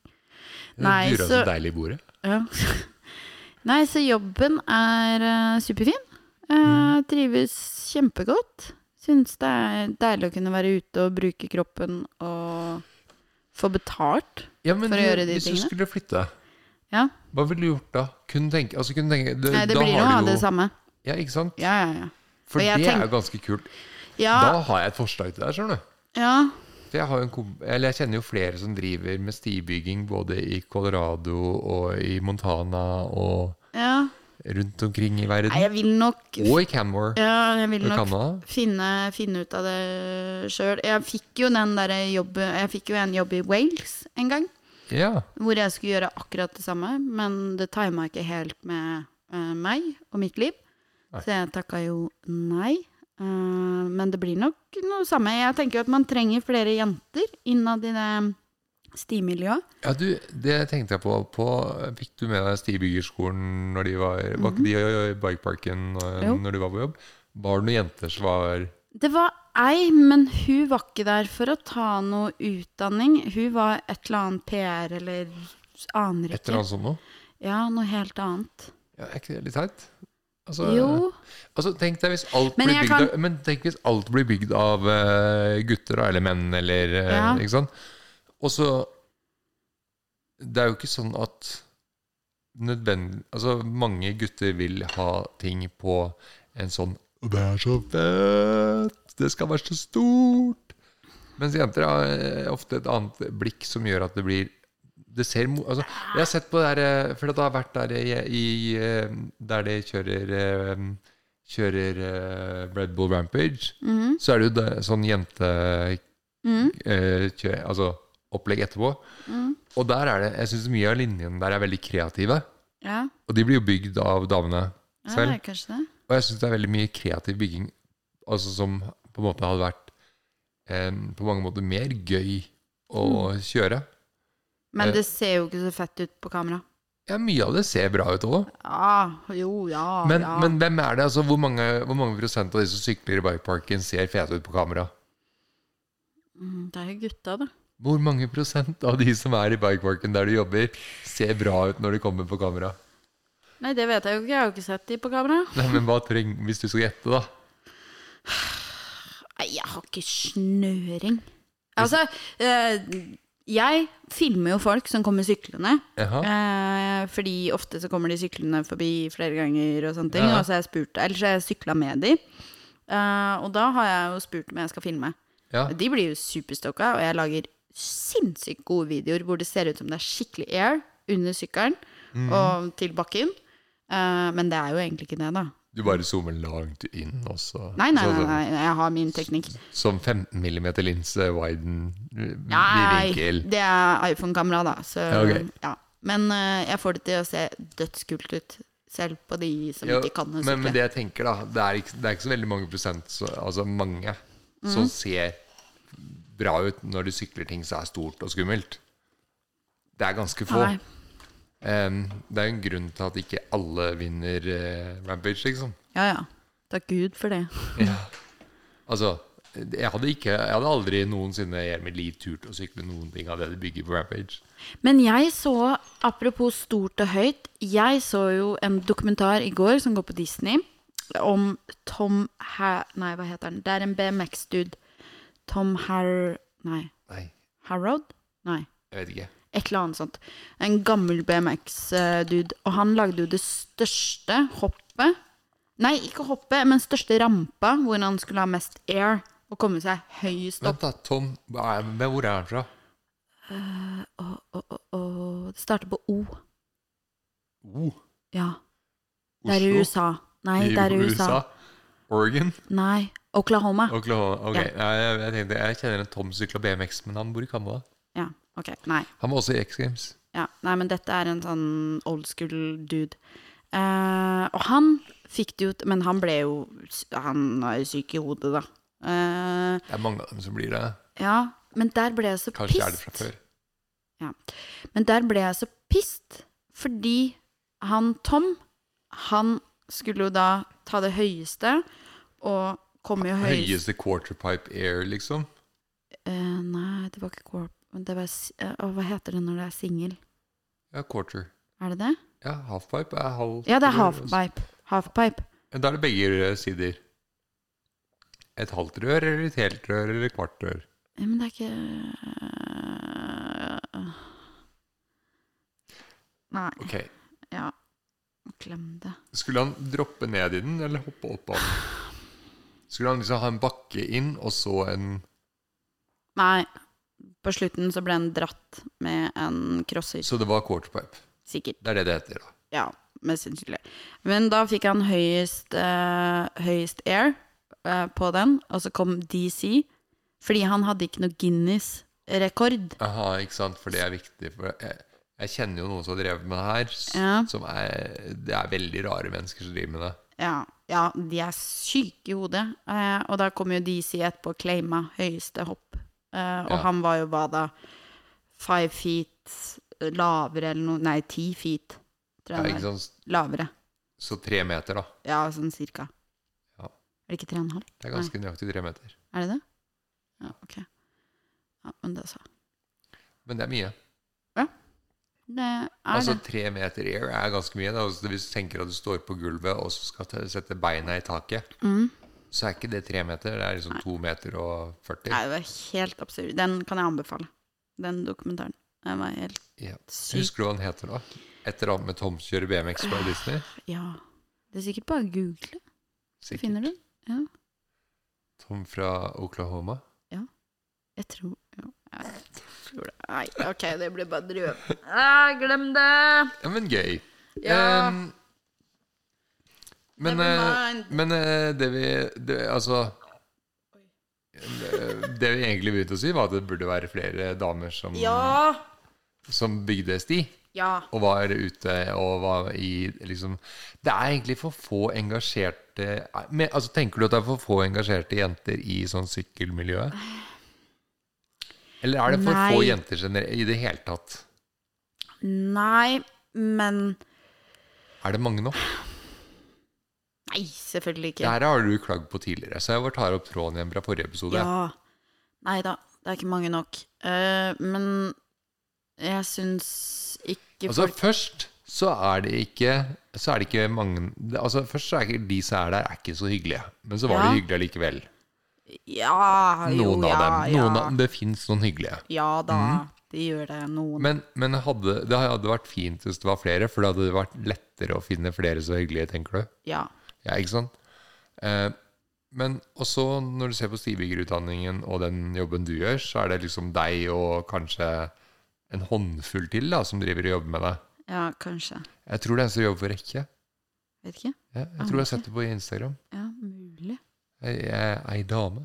Det
Nei,
durer
så-
så deilig i bordet.
Ja. Nei, så jobben er eh, superfin. Eh,
Mm.
Trives kjempegodt. Syns det er deilig å kunne være ute og bruke kroppen og få betalt.
Ja, men
For å
du,
gjøre de
hvis
tingene.
du skulle flytte,
Ja.
hva ville du gjort da? Kunne tenke, altså kunne tenke du,
Nei, det
da
blir jo
har du
det samme.
Ja, ikke sant?
Ja, ja, ja.
For
Og
det
jeg
er
tenk-
jo ganske kult.
Ja,
Da har jeg et forslag til deg, skjønner du.
ja.
For jeg, har jo en kom eller jeg kjenner jo flere som driver med stibygging både i Colorado og i Montana og
ja.
rundt omkring i
Nei,
verden.
jeg vil nok
Og i Canmore
Ja, jeg vil
og
nok
Canada.
finne, finne ut av det sjøl. Jeg fikk jo den derre jobben Jeg fikk jo en jobb i Wales en gang.
Ja.
hvor jeg skulle gjøre akkurat det samme, men det tima ikke helt med eh, meg og mitt liv.
Nei.
Så jeg takka jo nei. Eh, men det blir nok noe samme. Jeg tenker jo at man trenger flere jenter innad i det stimiljøet.
Ja, du, det tenkte jeg på. på fikk du med deg Stigbyggerskolen når de var Var ikke de i Bikeparken eh,
Mhm. Jo.
når du var på jobb? Var det noen jenter som var
Det var ei, men hun var ikke der for å ta noe utdanning. Hun var et eller annet PR eller aner
et eller
ikke.
annet sånt noe?
Ja, noe helt annet.
Ja, er ikke det litt teit? Altså,
Jo.
altså tenk deg hvis alt
Men
blir
jeg
bygd
kan-
av, Men tenk hvis alt blir bygd av eh, gutter da, eller menn eller eh,
Ja.
Ikke sant? Og så Det er jo ikke sånn at nødvendig Altså, mange gutter vil ha ting på en sånn «Å, Det er så fett! Det skal være så stort! Mens jenter har eh, ofte et annet blikk som gjør at det blir det ser, mo- altså, jeg har sett på det her eh, For det har vært der i, i eh, Der de kjører eh, Kjører eh, Red Bull Rampage
Mhm.
Så er det jo det, sånn jente
Mhm.
eh, kjø- Altså opplegg etterpå
Mhm.
Og der er det Jeg synes mye av linjen der er veldig kreative
Ja.
Og de blir jo bygd av damene
ja, det
Selv?
er kanskje det.
Og jeg synes det er veldig mye kreativ bygging Altså som på en måte hadde vært eh, på mange måter mer gøy å
Mm.
kjøre.
Men
Eh.
det ser jo ikke så fett ut på kamera.
Ja, mye av det ser bra ut òg.
Ja, jo, ja,
Men,
ja.
men hvem er det? Altså, hvor, mange, hvor mange prosent av de som sykler i bikeparken, ser fete ut på kamera?
Mm, Det er jo gutta, da.
Hvor mange prosent av de som er i bikeparken der du jobber, ser bra ut når de kommer på kamera?
Nei, det vet jeg jo ikke. Jeg har jo ikke sett de på kamera.
Nei, men hva trenger Hvis du skal gjette, da.
Nei, jeg har ikke snøring. Altså, eh, jeg filmer jo folk som kommer syklende.
Jaha.
Eh, fordi ofte så kommer de syklende forbi flere ganger og sånne ting.
Ja.
Og så har jeg spurt, eller så har jeg sykla med de. Eh, og da har jeg jo spurt om jeg skal filme.
Ja.
De blir jo superstokka, og jeg lager sinnssykt gode videoer hvor det ser ut som det er skikkelig air under sykkelen
Mhm.
og til bakken. Eh, men det er jo egentlig ikke det, da.
Du bare zoomer langt inn, og så
Nei, nei,
så- sånn
nei, nei, jeg har min teknikk.
Som 15 mm linse widen eh, i
Nei,
vinkel.
det er iPhone-kamera, da. Så,
Ja, ok.
ja. Men eh, jeg får det til å se dødskult ut, selv på de som
Ja,
ikke kan å
men, men
sykle.
det jeg tenker, da Det er ikke, det er ikke så veldig mange prosent, så, altså mange,
Mhm.
som ser bra ut når de sykler ting som er stort og skummelt. Det er ganske få.
Nei.
Em, det er jo en grunn til at ikke alle vinner eh, Rampage, liksom.
Ja, ja. Takk Gud for det.
Altså, jeg hadde, ikke, jeg hadde aldri noensinne i hele mitt liv turt å sykle noen ting av det de bygger på Rampage.
Men jeg så, apropos stort og høyt, jeg så jo en dokumentar i går som går på Disney, om Tom Her... Nei, hva heter han? Det er en BMX-dude. Tom Har... Nei.
Nei,
Harrod? Nei.
jeg vet ikke.
Et eller annet sånt. En gammel BMX-dude. Og han lagde jo det største hoppet Nei, ikke hoppet, men største rampa hvor han skulle ha mest air og komme seg høyest opp.
Vent, da. Tom hva er, men Hvor er han fra?
Å, å, å, å. Det starter på O.
Oh,
Ja.
Oslo?
Det er i USA. Nei, det er i USA.
Oregon?
Nei, Oklahoma.
Oklahoma. Ok,
Ja.
Nei, jeg, jeg, tenkte, jeg kjenner en Tom sykla BMX, men han bor i Canada.
Ja, ok. Nei.
Han var også i X Games.
Ja. Nei, men dette er en sånn old school dude. Eh, og han fikk det jo t- Men han ble jo Han er jo syk i hodet, da. Eh,
Det er mange av dem som blir det.
ja, men der ble jeg så
Kanskje er det fra
pissed.
før.
Men der ble jeg så pissed, fordi han Tom, han skulle jo da ta det høyeste, og komme jo høyest
Høyeste quarterpipe air, liksom.
Eh, Nei, det var ikke corp... Det var, s- eh, å, hva heter det når det er singel?
Ja, quarter.
Er det det?
Ja, halfpipe er halv
Ja, det er halfpipe. Halfpipe.
Ja, Da er det begge eh, sider. Et halvt rør eller et helt rør eller et kvart rør.
Ja, Men det er ikke Nei.
Ok,
Ja. Glem det.
Skulle han droppe ned i den eller hoppe opp av den? Skulle han liksom ha en bakke inn og så en
Nei. På slutten så ble han dratt med en crosser.
Så det var quarterpipe.
Sikkert.
Det er det det heter, da.
Ja, mest sannsynlig. Men da fikk han høyest, eh, høyest air eh, på den, og så kom DC. Fordi han hadde ikke noe Guinness-rekord.
Aha, ikke sant, for det er viktig. For jeg, jeg kjenner jo noen som har drevet med det her, s-
Ja.
som er Det er veldig rare mennesker som driver med det.
Ja, ja, de er syke i hodet. Eh, og da kom jo DC etterpå og claima høyeste hopp. Eh, og
Ja.
han var jo hva da? Five feet lavere eller noe Nei, ti feet, tror
Ja,
jeg
ikke
det var.
sant?
Lavere.
Så tre meter, da.
Ja, sånn cirka.
Ja.
Er det ikke tre og en halv?
Det er ganske nøyaktig tre meter.
Er det det? Ja, ok. Ja, men det så.
Men det er mye.
Det er
Altså
det.
tre meter air er ganske mye. Da. Altså, hvis du tenker at du står på gulvet og så skal te- sette beina i taket,
Mm.
så er ikke det tre meter. Det er liksom to meter og 40.
Nei, det var helt absurd. Den kan jeg anbefale. Den dokumentaren. Den var helt
Ja.
syk.
Husker du hva han heter da? Et eller annet med Tom som kjører BMX fra Disney?
Ja. Det er sikkert bare å google, så finner du den.
Tom fra Oklahoma?
Jeg tror jo, jeg tror det. Nei, ok, det blir bare drøm. Ah, glem det!
Ja, men gøy.
Ja.
Ehm, men
Never
eh,
mind.
men eh, det vi det, Altså eh, Det vi egentlig begynte å si, var at det burde være flere damer som,
Ja!
som bygde sti.
Ja.
og var ute og var i liksom Det er egentlig for få engasjerte men, altså, Tenker du at det er for få engasjerte jenter i sånn sykkelmiljøet? Eller er det for
Nei.
få jenter gener- i det hele tatt?
Nei, men
Er det mange nå?
Nei, selvfølgelig
Det
ikke.
her har du klagd på tidligere, så jeg bare tar opp tråden igjen fra forrige episode.
Ja. Nei da, det er ikke mange nok. Eh, men jeg syns ikke
Altså
folk
Først så er det ikke Så er det ikke mange det- Altså Først så er ikke de som er der, er ikke så hyggelige. Men så var
Ja.
de hyggelige likevel.
Ja, jo,
Noen
ja,
av dem. Noen
ja.
av, det fins noen hyggelige.
Ja da, de gjør det. Noen.
Men, men hadde, det hadde vært fint hvis det var flere, for da hadde det vært lettere å finne flere så hyggelige, tenker du.
ja.
Ja, ikke sant? Eh, men også når du ser på stigbyggerutdanningen og den jobben du gjør, så er det liksom deg og kanskje en håndfull til da, som driver og jobber med det.
ja, kanskje.
Jeg tror det er en som jobber for Rekke.
Vet ikke.
Ja, jeg tror jeg har sett det på Instagram.
Ja, mulig.
Ei, ei- ei dame.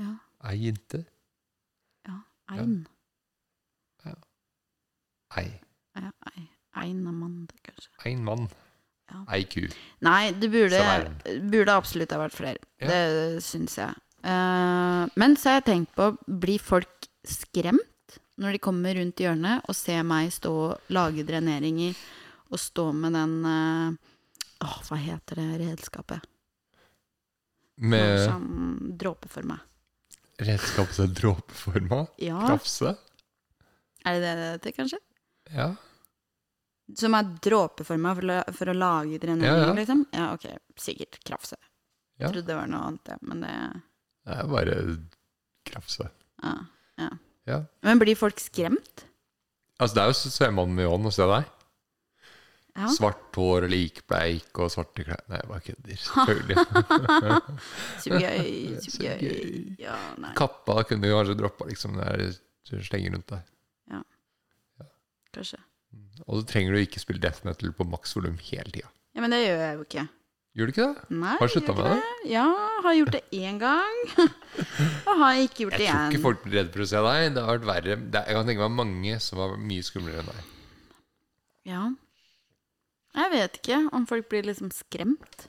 Ja.
Ei jente.
Ja. Ein.
Ei.
Ja. ei- Ein Amanda, kanskje.
Ein mann.
Ja.
Ei ku.
Nei, det burde,
Som
burde absolutt ha vært flere.
Ja.
Det syns jeg. Eh, men så har jeg tenkt på, blir folk skremt når de kommer rundt hjørnet og ser meg stå og lage dreneringer og stå med den eh, Åh, hva heter det redskapet? Det er
Med
Sånn dråpe for meg.
redskap som er dråpeforma.
Ja,
Krafse.
er det det det heter, kanskje?
Ja.
Som er dråpeforma for, å- for å lage drenering,
Ja, ja.
liksom? Ja, ok. Sikkert krafse.
Ja.
Jeg trodde det var noe annet, ja, men det
Det er Eh, bare krafse.
ja, ja.
Ja.
Men blir folk skremt?
Altså, det er jo svømmemannen med altså, ånd å se deg.
Ja.
Svart hår og likbleik og svarte klær Nei, jeg bare kødder. Selvfølgelig.
Sugøy,
Så
sugøy.
gøy.
Ja, nei,
Kappa kunne du kanskje droppa, liksom. Det er slenger rundt deg.
kanskje.
Og så trenger du ikke spille death metal på maks volum hele tida.
Ja, men det gjør jeg jo ikke.
Gjør du ikke det?
Nei,
Har du sluttet
gjør ikke
med
Ja, har gjort det én gang. Og har ikke gjort
Jeg
det
tror ikke
igjen.
folk blir redde for å se deg. Det har vært verre. Det er, jeg kan tenke meg mange som var mye skumlere enn deg.
Ja. Jeg vet ikke om folk blir liksom skremt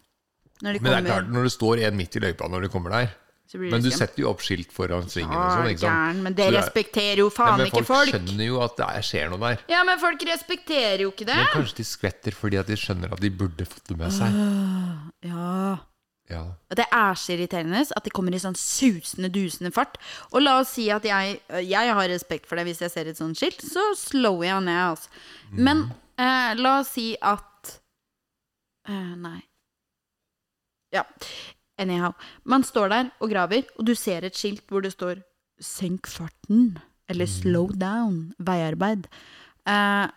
når de
Men det er klart,
kommer.
når det står en midt i løypa når du kommer der
Så blir liksom-
Men du
de skremt.
setter jo opp skilt foran svingen og
Ja,
sånn,
er
ikke sant?
gæren, men
Så
det
det er-
respekterer jo
Ja,
faen
men
ikke
folk
folk.
skjønner jo at det er- skjer noe der.
Ja, men folk respekterer jo ikke det.
Men kanskje de skvetter fordi at de skjønner at de burde fått det med seg.
Ja.
Ja.
Og Det er så irriterende at de kommer i sånn susende, dusende fart. Og la oss si at jeg, jeg har respekt for det hvis jeg ser et sånt skilt, så slower jeg ned. Altså.
Mhm.
Men eh, la oss si at eh, Nei. Ja. Anyhow. Man står der og graver, og du ser et skilt hvor det står 'senk farten' eller
Mhm.
'slow down', veiarbeid. Eh, og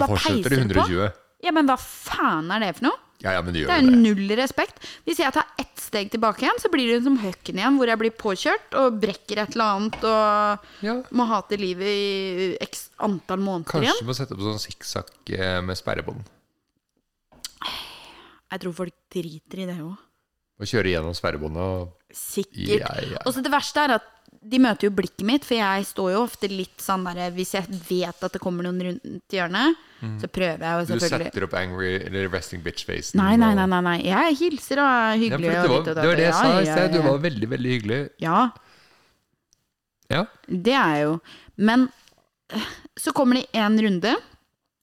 så bare
fortsetter de
peiser du på.
120.
Ja, men hva faen er det for noe?
Ja, ja, men de gjør
Det
jo
er
det.
null respekt. Hvis jeg tar ett steg tilbake igjen, så blir det som høkken igjen, hvor jeg blir påkjørt og brekker et eller annet og
Ja.
må hate livet i x antall måneder
Kanskje
igjen.
du må sette opp sånn sikksakk eh, med sperrebånd.
Jeg tror folk driter i det òg.
Og kjøre gjennom sperrebåndet og
Sikkert.
ja, ja.
Og så det verste er at de møter jo blikket mitt, for jeg står jo ofte litt sånn der Hvis jeg vet at det kommer noen rundt hjørnet, så prøver jeg jo
Mm. Du
selvfølgelig
setter opp angry eller resting bitch-facen.
Nei, nei,
og-
nei, nei, nei. Jeg hilser og er
Ja, for
hyggelig.
det,
og
var,
ditt og
det var det jeg
datt.
sa i
Ja,
sted.
ja,
Du
ja.
var veldig, veldig hyggelig.
Ja,
Ja.
Det er jeg jo. Men øh, så kommer det én runde,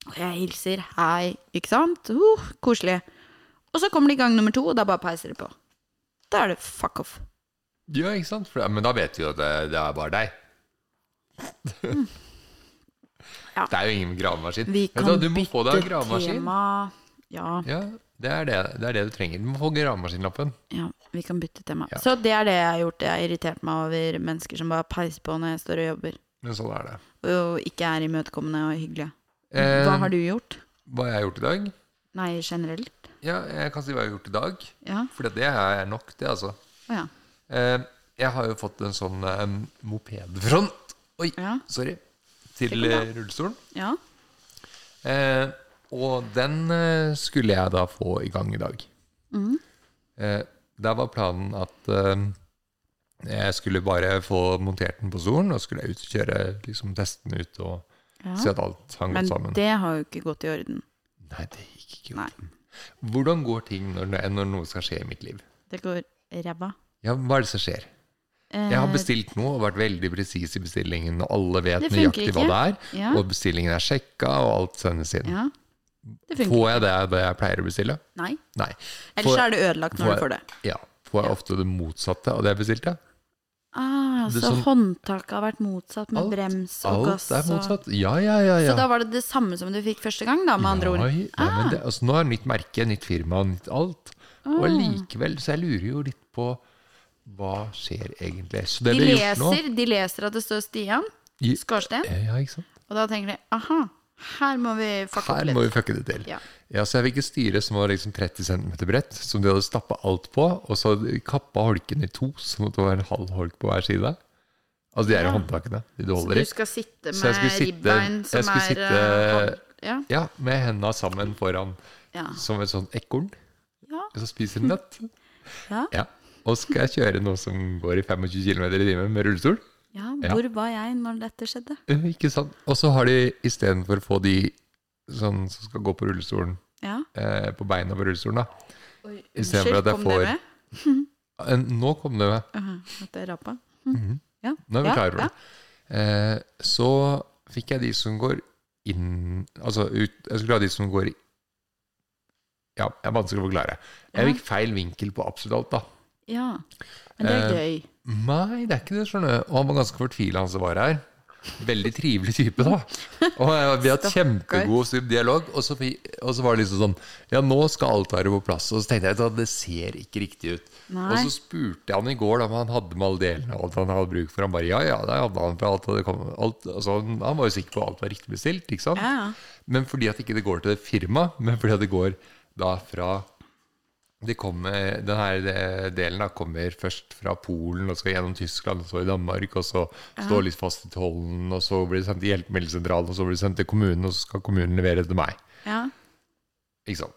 og jeg hilser hei, ikke sant? Uh, koselig. Og så kommer det i gang nummer to, og da bare peiser det på. Da er det fuck off.
Ja, ikke sant? For, men da vet vi jo at det, det er bare deg.
Mm. Ja.
Det er jo ingen gravemaskin.
Vi
Vet du
kan
hva, du må få deg en
bytte
gravemaskin.
tema. Ja,
Ja, det er det, det er det du trenger. Du må få gravemaskinlappen.
ja, vi kan bytte tema.
Ja.
Så det er det jeg har gjort. Jeg har irritert meg over mennesker som bare peiser på når jeg står og jobber.
Men sånn er det.
Og ikke er imøtekommende og hyggelige.
Eh,
Hva har du gjort?
Hva jeg har gjort i dag?
Nei, generelt?
Ja, jeg kan si hva jeg har gjort i dag.
Ja.
For det er nok, det, altså.
Å ja.
Eh, jeg har jo fått en sånn eh, mopedfront Oi,
Ja.
sorry. Til
går bra.
eh, rullestolen.
ja.
Eh, og den eh, skulle jeg da få i gang i dag. Eh, der var planen at eh, jeg skulle bare få montert den på stolen, og skulle jeg ut og kjøre liksom, testen ut og
Ja.
se at alt hang
Men
godt sammen.
det har jo ikke gått i orden.
Nei, det gikk ikke.
Nei.
Hvordan går ting når, når noe skal skje i mitt liv?
Det går ræva.
Ja, hva er det som skjer?
Eh,
Jeg har bestilt noe og vært veldig presis i bestillingen, og alle vet
Det funker
nøyaktig hva det er.
ja,
Og bestillingen er sjekka, og alt sendes inn.
ja. Det funker.
Får jeg det, det jeg pleier å bestille?
Nei.
Nei.
Ellers
Får-
så er det ødelagt når
får-
du får det.
Ja. Får jeg
Ja.
ofte det motsatte av det jeg bestilte?
Ah,
Det
så
sånn-
håndtaket har vært motsatt med
Alt-
brems og gass.
Alt er
og-
motsatt. Ja, ja, ja. ja.
Så da var det det samme som du fikk første gang, da, med andre ord.
Nei, nei, men det, altså, nå er det nytt merke, nytt firma, nytt alt. Og
Ah.
likevel, så jeg lurer jo litt på hva skjer egentlig. Så det
De
ble gjort nå.
leser, de leser at det står Stian
I-
Skarsten,
Ja, ikke sant?
og da tenker de aha, her må vi fucke opp
Her
litt.
må vi fucke det til.
Ja.
Ja, så jeg fikk et styre som var liksom 30 cm bredt, som de hadde stappa alt på, og så hadde de kappa holken i to, sånn at det var en halv holk på hver side. Altså de er
Ja.
håndtakene, de du
Så
holder
du
i.
skal sitte
Så jeg
med
skulle sitte-
ribbein som
jeg skulle
er
sitte-
eh, hånd- ja,
Ja, med henda sammen foran,
ja,
som et sånt ekorn.
ja.
Og så spiser en nøtt.
Ja.
Og så skal jeg kjøre noe som går i 25 km i timen med rullestol.
Ja,
Ja.
hvor var jeg når dette skjedde?
Eh, Ikke sant? Og så har de istedenfor å få de sånn, som skal gå på rullestolen,
Ja.
eh, på beina på rullestolen, da.
Oi,
I stedet for
unnskyld,
at jeg
kom
får-
det med?
Eh, Nå kom det med.
Uh, at jeg rapa? Hm. Ja.
Mhm. Nå er vi
Ja,
klar over
ja.
det. Eh, så fikk jeg de som går inn Altså ut Jeg skulle ha de som går i Ja, det er vanskelig å forklare. Jeg
Ja.
fikk feil vinkel på absolutt alt, da.
Ja. Men det er
Eh,
gøy.
Nei, det er ikke det, skjønner du. Og han var ganske fortvila, han som var her. Veldig trivelig type, da. Og eh, vi hadde kjempegod dialog. Og så, vi- og så var det liksom sånn Ja, nå skal alt være på plass. Og så tenkte jeg at det ser ikke riktig ut. Og
Nei.
så spurte jeg han i går da, om han hadde med alle delene og alt han hadde bruk for. Han bare ja, ja, det hadde han. For alt hadde kommet, alt, altså, han han var jo sikker på at alt var riktig bestilt, ikke sant?
Ja, ja.
Men fordi at ikke det går til det firmaet, men fordi at det går da fra det kommer, den her eh, delen da kommer først fra Polen og skal gjennom Tyskland og så i Danmark, og så står litt fast i tollen, og så blir det sendt til hjelpemiddelsentralen, og så blir det sendt til kommunen, og så skal kommunen levere det til meg.
ja.
Ikke sant?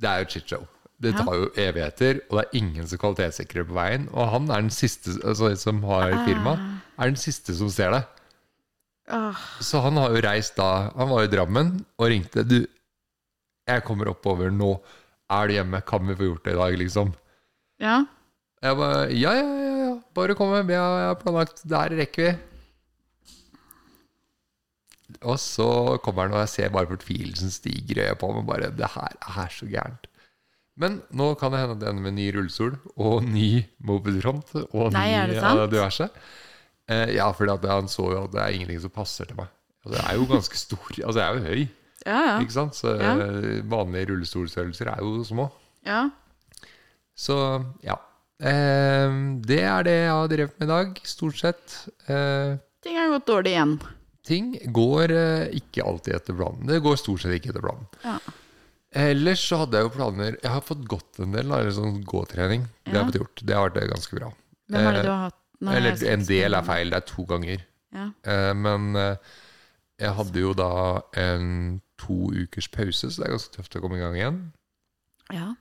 Det er jo et shitshow. Det
Ja.
tar jo evigheter, og det er ingen som kvalitetssikrer på veien. Og han er den siste altså, som har firma, er den siste som ser det.
Åh,
Så han har jo reist da Han var i Drammen og ringte. Du, jeg kommer oppover nå. Er du hjemme? Kan vi få gjort det i dag, liksom?
ja.
Jeg bare Ja, ja, ja. ja. Bare kom hjem. Jeg jeg har planlagt. Der rekker vi. Og så kommer han, og jeg ser bare fortvilelsen stiger i øya på ham. Og bare Det her er så gærent. Men nå kan det hende at det ender med ny rullestol og ny mopedfront og
Nei, er
ny
det
ja,
sant?
diverse. Eh, ja, for han så jo at det er ingenting som passer til meg. Altså, jeg er jo ganske stor. Altså, jeg er jo høy,
Ja, ja.
ikke sant? Så
Ja.
eh, vanlige rullestolstørrelser er jo små.
ja.
Så ja. Ehm, det er det jeg har drevet med i dag, stort sett. Eh,
Ting har gått dårlig igjen.
ting går eh, ikke alltid etter planen. Det går stort sett ikke etter planen.
Ja.
Ellers så hadde jeg jo planer Jeg har fått gått en del, da, eller sånn gåtrening. Det har jeg fått gjort. Det har vært eh, ganske bra.
Hvem er det
Eh,
du har hatt? Nå har jeg
Eller
sagt
en del er
spennende.
feil. Det er to ganger.
Ja.
Eh, men eh, jeg hadde jo da en to ukers pause, så det er ganske tøft å komme i gang igjen.
ja.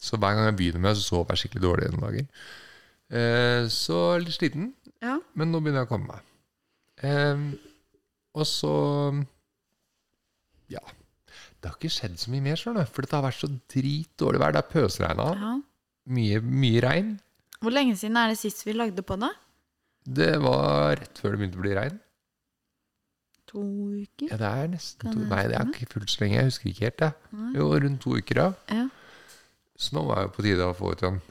Så hver gang jeg begynner med, så sover jeg skikkelig dårlig noen dager. Eh, så litt sliten,
Ja.
men nå begynner jeg å komme meg. Eh, og så Ja. Det har ikke skjedd så mye mer, skjønner du. For det har vært så dritdårlig vær. Det er pøsregna.
ja.
Mye, mye regn.
Hvor lenge siden er det sist vi lagde på da?
Det var rett før det begynte å bli regn.
To uker?
Ja, det er nesten
Kan
to
det sånn,
Nei, det er
stemme?
ikke fullt så lenge. Jeg husker ikke helt, jeg.
Nei.
Jo, rundt to uker, ja.
Ja.
Så nå var jeg jo på tide å få ut igjen.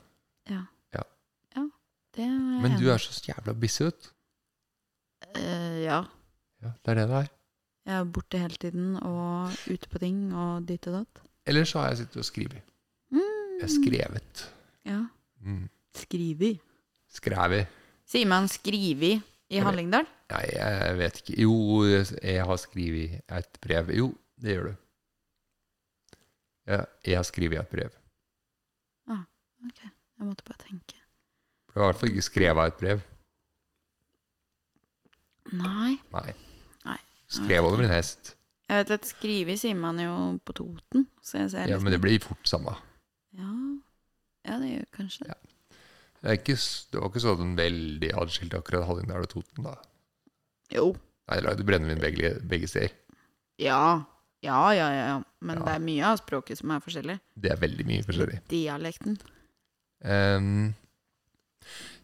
Det er jeg
Men du
enig i.
er så jævla busy, vet du.
Eh, Ja.
Ja, det er det det er.
Jeg er borte hele tiden og ute på ting og dit og datt.
Ellers så har jeg sittet og skrevet.
Mm.
Jeg har skrevet.
Ja.
Mm.
Skrivi.
Skrevet.
Sier man skrivi i
vet-
Hallingdal?
Nei, jeg vet ikke. Jo, jeg har skrevet et brev. Jo, det gjør du. Ja, jeg har skrevet et brev.
Jeg måtte bare tenke.
Du har i hvert fall ikke skrevet et brev.
Nei.
Nei.
Nei.
Skrev over en hest.
Jeg vet at skrivi sier man jo på Toten. Så jeg ser
Ja, men det blir fort samme.
ja. ja, det gjør kanskje det.
Det, er ikke, s- det var ikke sånn veldig adskilt akkurat Hallingdal og Toten, da.
Jo.
Nei, de lagde brennevin begge, begge steder.
Ja. Ja, ja, ja. ja. Men
Ja.
det er mye av språket som er forskjellig.
Det er veldig mye forskjellig.
Dialekten.
Ehm,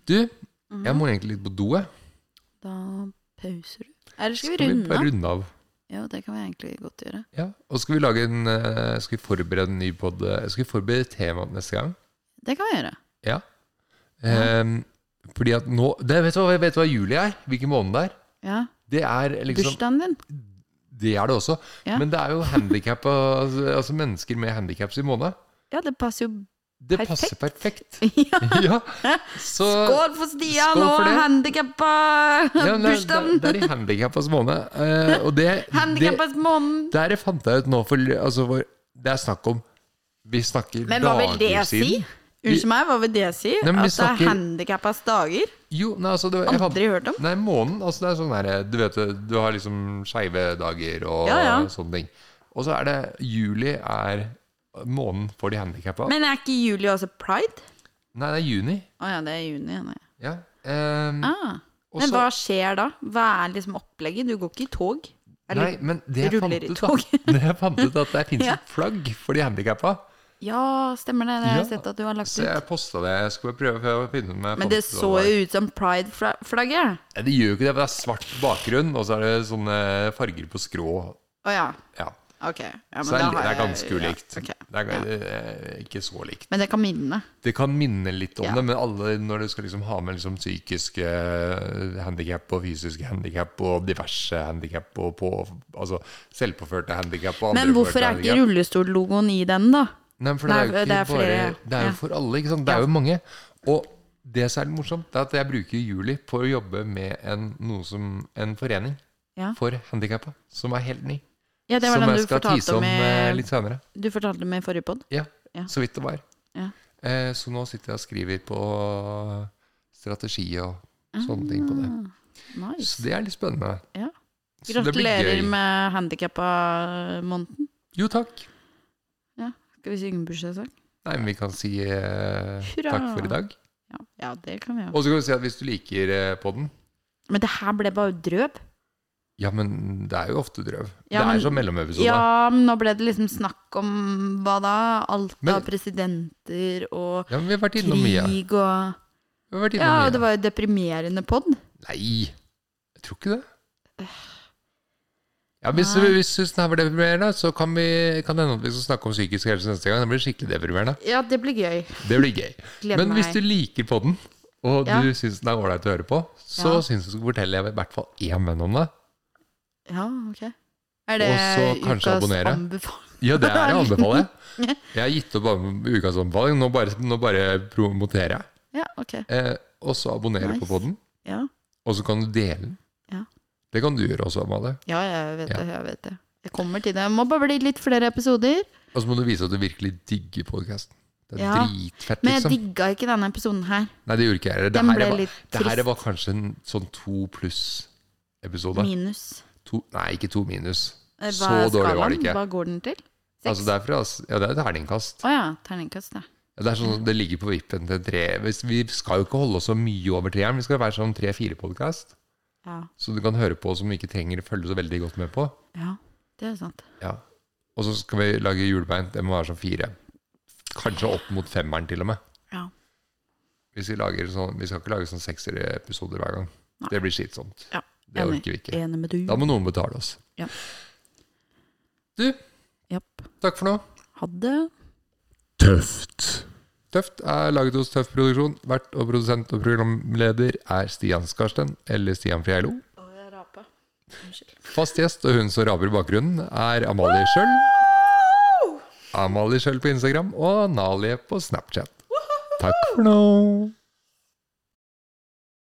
du,
Mm.
Jeg må egentlig litt på do, jeg.
Mhm. Da pauser du. Eller skal vi
bare
runde av?
runde av?
Jo, det kan vi egentlig godt gjøre.
Ja. Og skal vi lage en eh, Skal vi forberede en ny pod eh, Skal vi forberede temaet neste gang?
Det kan vi gjøre.
Ehm, fordi at nå det, vet, du hva, vet du hva juli er? Hvilken måned det er?
Ja.
Det er liksom
Bursdagen din.
Det er det også.
Ja.
Men det er jo handikap altså, altså mennesker med handikaps i måned.
Ja, det passer jo
Det
Perfekt.
passer perfekt.
ja.
ja. Så
Skål for Stian
skål for
og
det.
handikappa
ja, det, er-
bursdagen!
det er i handikappas måned. Eh, og det, det
Handikappas måned!
Der fant jeg ut nå for, altså, hvor, Det er snakk om Vi snakker
Men hva vil det
dager
si?
siden.
Unnskyld meg, hva vil det si?
Nei, men vi
At det
snakker-
er handikappas dager?
Jo, nei, altså det, jeg fant-
Aldri hørt om.
Nei, månen. Altså det er sånn her Du vet, du har liksom skeive dager og
Ja, ja.
sånne ting. Og så er det Juli er månen for de handikappa.
Men er ikke juli også pride?
Nei, det er juni.
Å ja, det er juni. Ja. nei.
Ja. Ehm,
Ah.
Og
Men
så-
hva skjer da? Hva er liksom opplegget? Du går ikke i tog?
nei,
Eller,
men det jeg,
ruller
fant
i
ut,
tog.
da, det jeg fant ut, at det fins
Ja.
et flagg for de handikappa.
Ja, stemmer det. Det har jeg
Ja,
sett at du har lagt
Så
ut.
jeg posta det. Jeg skulle prøve før jeg begynte med
Men det så jo ut som pride-flagget.
Nei, det gjør jo ikke det, for det er svart bakgrunn, og så er det sånne farger på skrå.
Å ja.
Ja.
Ok. Ja, men
Så det
da
er, det
har
er
jeg-
ganske ulikt.
Ja, ok.
Det er det er ikke så likt.
Men det kan minne.
Det kan minne litt om
Ja.
det, men alle, når du skal liksom ha med liksom psykiske handikap og fysiske handikap og diverse handikap og på, altså selvpåførte handikap og
Men hvorfor er ikke
handicap.
rullestollogoen i den, da?
Nei, for det er jo
Nei,
ikke
det er
bare
flere,
Det er
ja.
jo for alle, ikke sant? Det er jo mange. Og det som er litt morsomt, det er at jeg bruker juli på å jobbe med en, noe som, en forening
Ja.
for handikappa, som er helt ny.
Ja, det var
Som
den
jeg
du
skal
fortalte
tise
om
om eh,
i,
litt senere.
du fortalte om i forrige pod.
Ja,
Ja.
så vidt det var.
Ja.
Eh, så nå sitter jeg og skriver på eh, strategi og sånne ting på det. Så
Ah, Nice.
det er litt spennende.
Ja.
Så det blir
Gratulerer
gøy.
med handikappa-måneden.
Jo, takk.
Skal vi synge bursdagssang?
Nei, men vi kan si eh,
Hurra.
takk for i dag.
Ja. ja, det kan vi gjøre.
Og så kan vi si at hvis du liker eh, podden
Men det her ble bare drøp.
Ja, men det er jo ofte drøv.
Ja,
det
men-
er som mellomepisode.
Ja, men nå ble det liksom snakk om hva da? Alt
Men-
av presidenter og
Ja, men vi har vært innom mye.
krig og
Vi har vært innom
Ja, og
mye.
det var jo deprimerende pod.
Nei, jeg tror ikke det. Ja, Hvis
Nei.
du syns den her var deprimerende, så kan, vi, kan det hende at vi skal snakke om psykisk helse neste gang. Det blir skikkelig deprimerende.
Ja, det blir gøy.
Det blir gøy.
Gleder
Men
meg.
hvis du liker podden, og
Ja.
du syns den er ålreit å høre på, så
Ja.
syns jeg du skal fortelle i hvert fall én venn om det.
Ja, ok. Er det
Og så kanskje
ukas
abonnere.
anbefaling?
Ja, det er jeg anbefaler. jeg. Jeg har gitt opp an- ukas anbefaling. Nå bare, nå bare promoterer jeg.
Ja, ok.
Eh, og så abonnerer
Nice.
på podden,
Ja.
og så kan du dele den.
Ja.
Det kan du gjøre også, Amalie.
ja, jeg vet
Ja.
det. Jeg vet det. Jeg kommer til det. Det må bare bli litt flere episoder.
Og så må du vise at du virkelig digger podkasten. Det er
Ja.
dritfett,
Men jeg
liksom.
digga ikke denne episoden her.
Nei, det gjorde ikke jeg heller. Det
Den
her
ble
var,
litt
det her
trist.
var kanskje en sånn to pluss-episode.
Minus.
Nei, ikke to minus.
Eh,
Så
er
dårlig var det
skalaen?
ikke.
Hva går den til? Seks?
Altså, det er fra Ja, det er et terningkast.
Å ja. Terningkast, ja.
Det er sånn, det ligger på vippen til tre Hvis- Vi skal jo ikke holde oss så mye over treeren. Vi skal være sånn tre-fire-podkast,
ja.
så du kan høre på som du ikke trenger å følge så veldig godt med på.
Ja, det er sant.
Ja. Og så skal vi lage julebein. Det må være sånn fire. Kanskje opp mot femmeren, til og med.
Ja.
Hvis vi, lager sånn, vi skal ikke lage sånn sekserepisoder hver gang.
Nei.
Det blir slitsomt.
Ja,
Det
enig.
orker vi ikke.
Enig med du.
Da må noen betale oss.
Ja.
Du,
Japp.
takk for nå.
Ha det.
Tøft. Tøft er laget hos Tøff Produksjon. Vert og produsent og programleder er Stian Skarsten, eller Stian Fjeilo.
Å, jeg rapa. Unnskyld.
Fast gjest og hun som raper i bakgrunnen, er Amalie Schjøll. Amalie Schjøll på Instagram og Nalie på Snapchat. Takk for nå.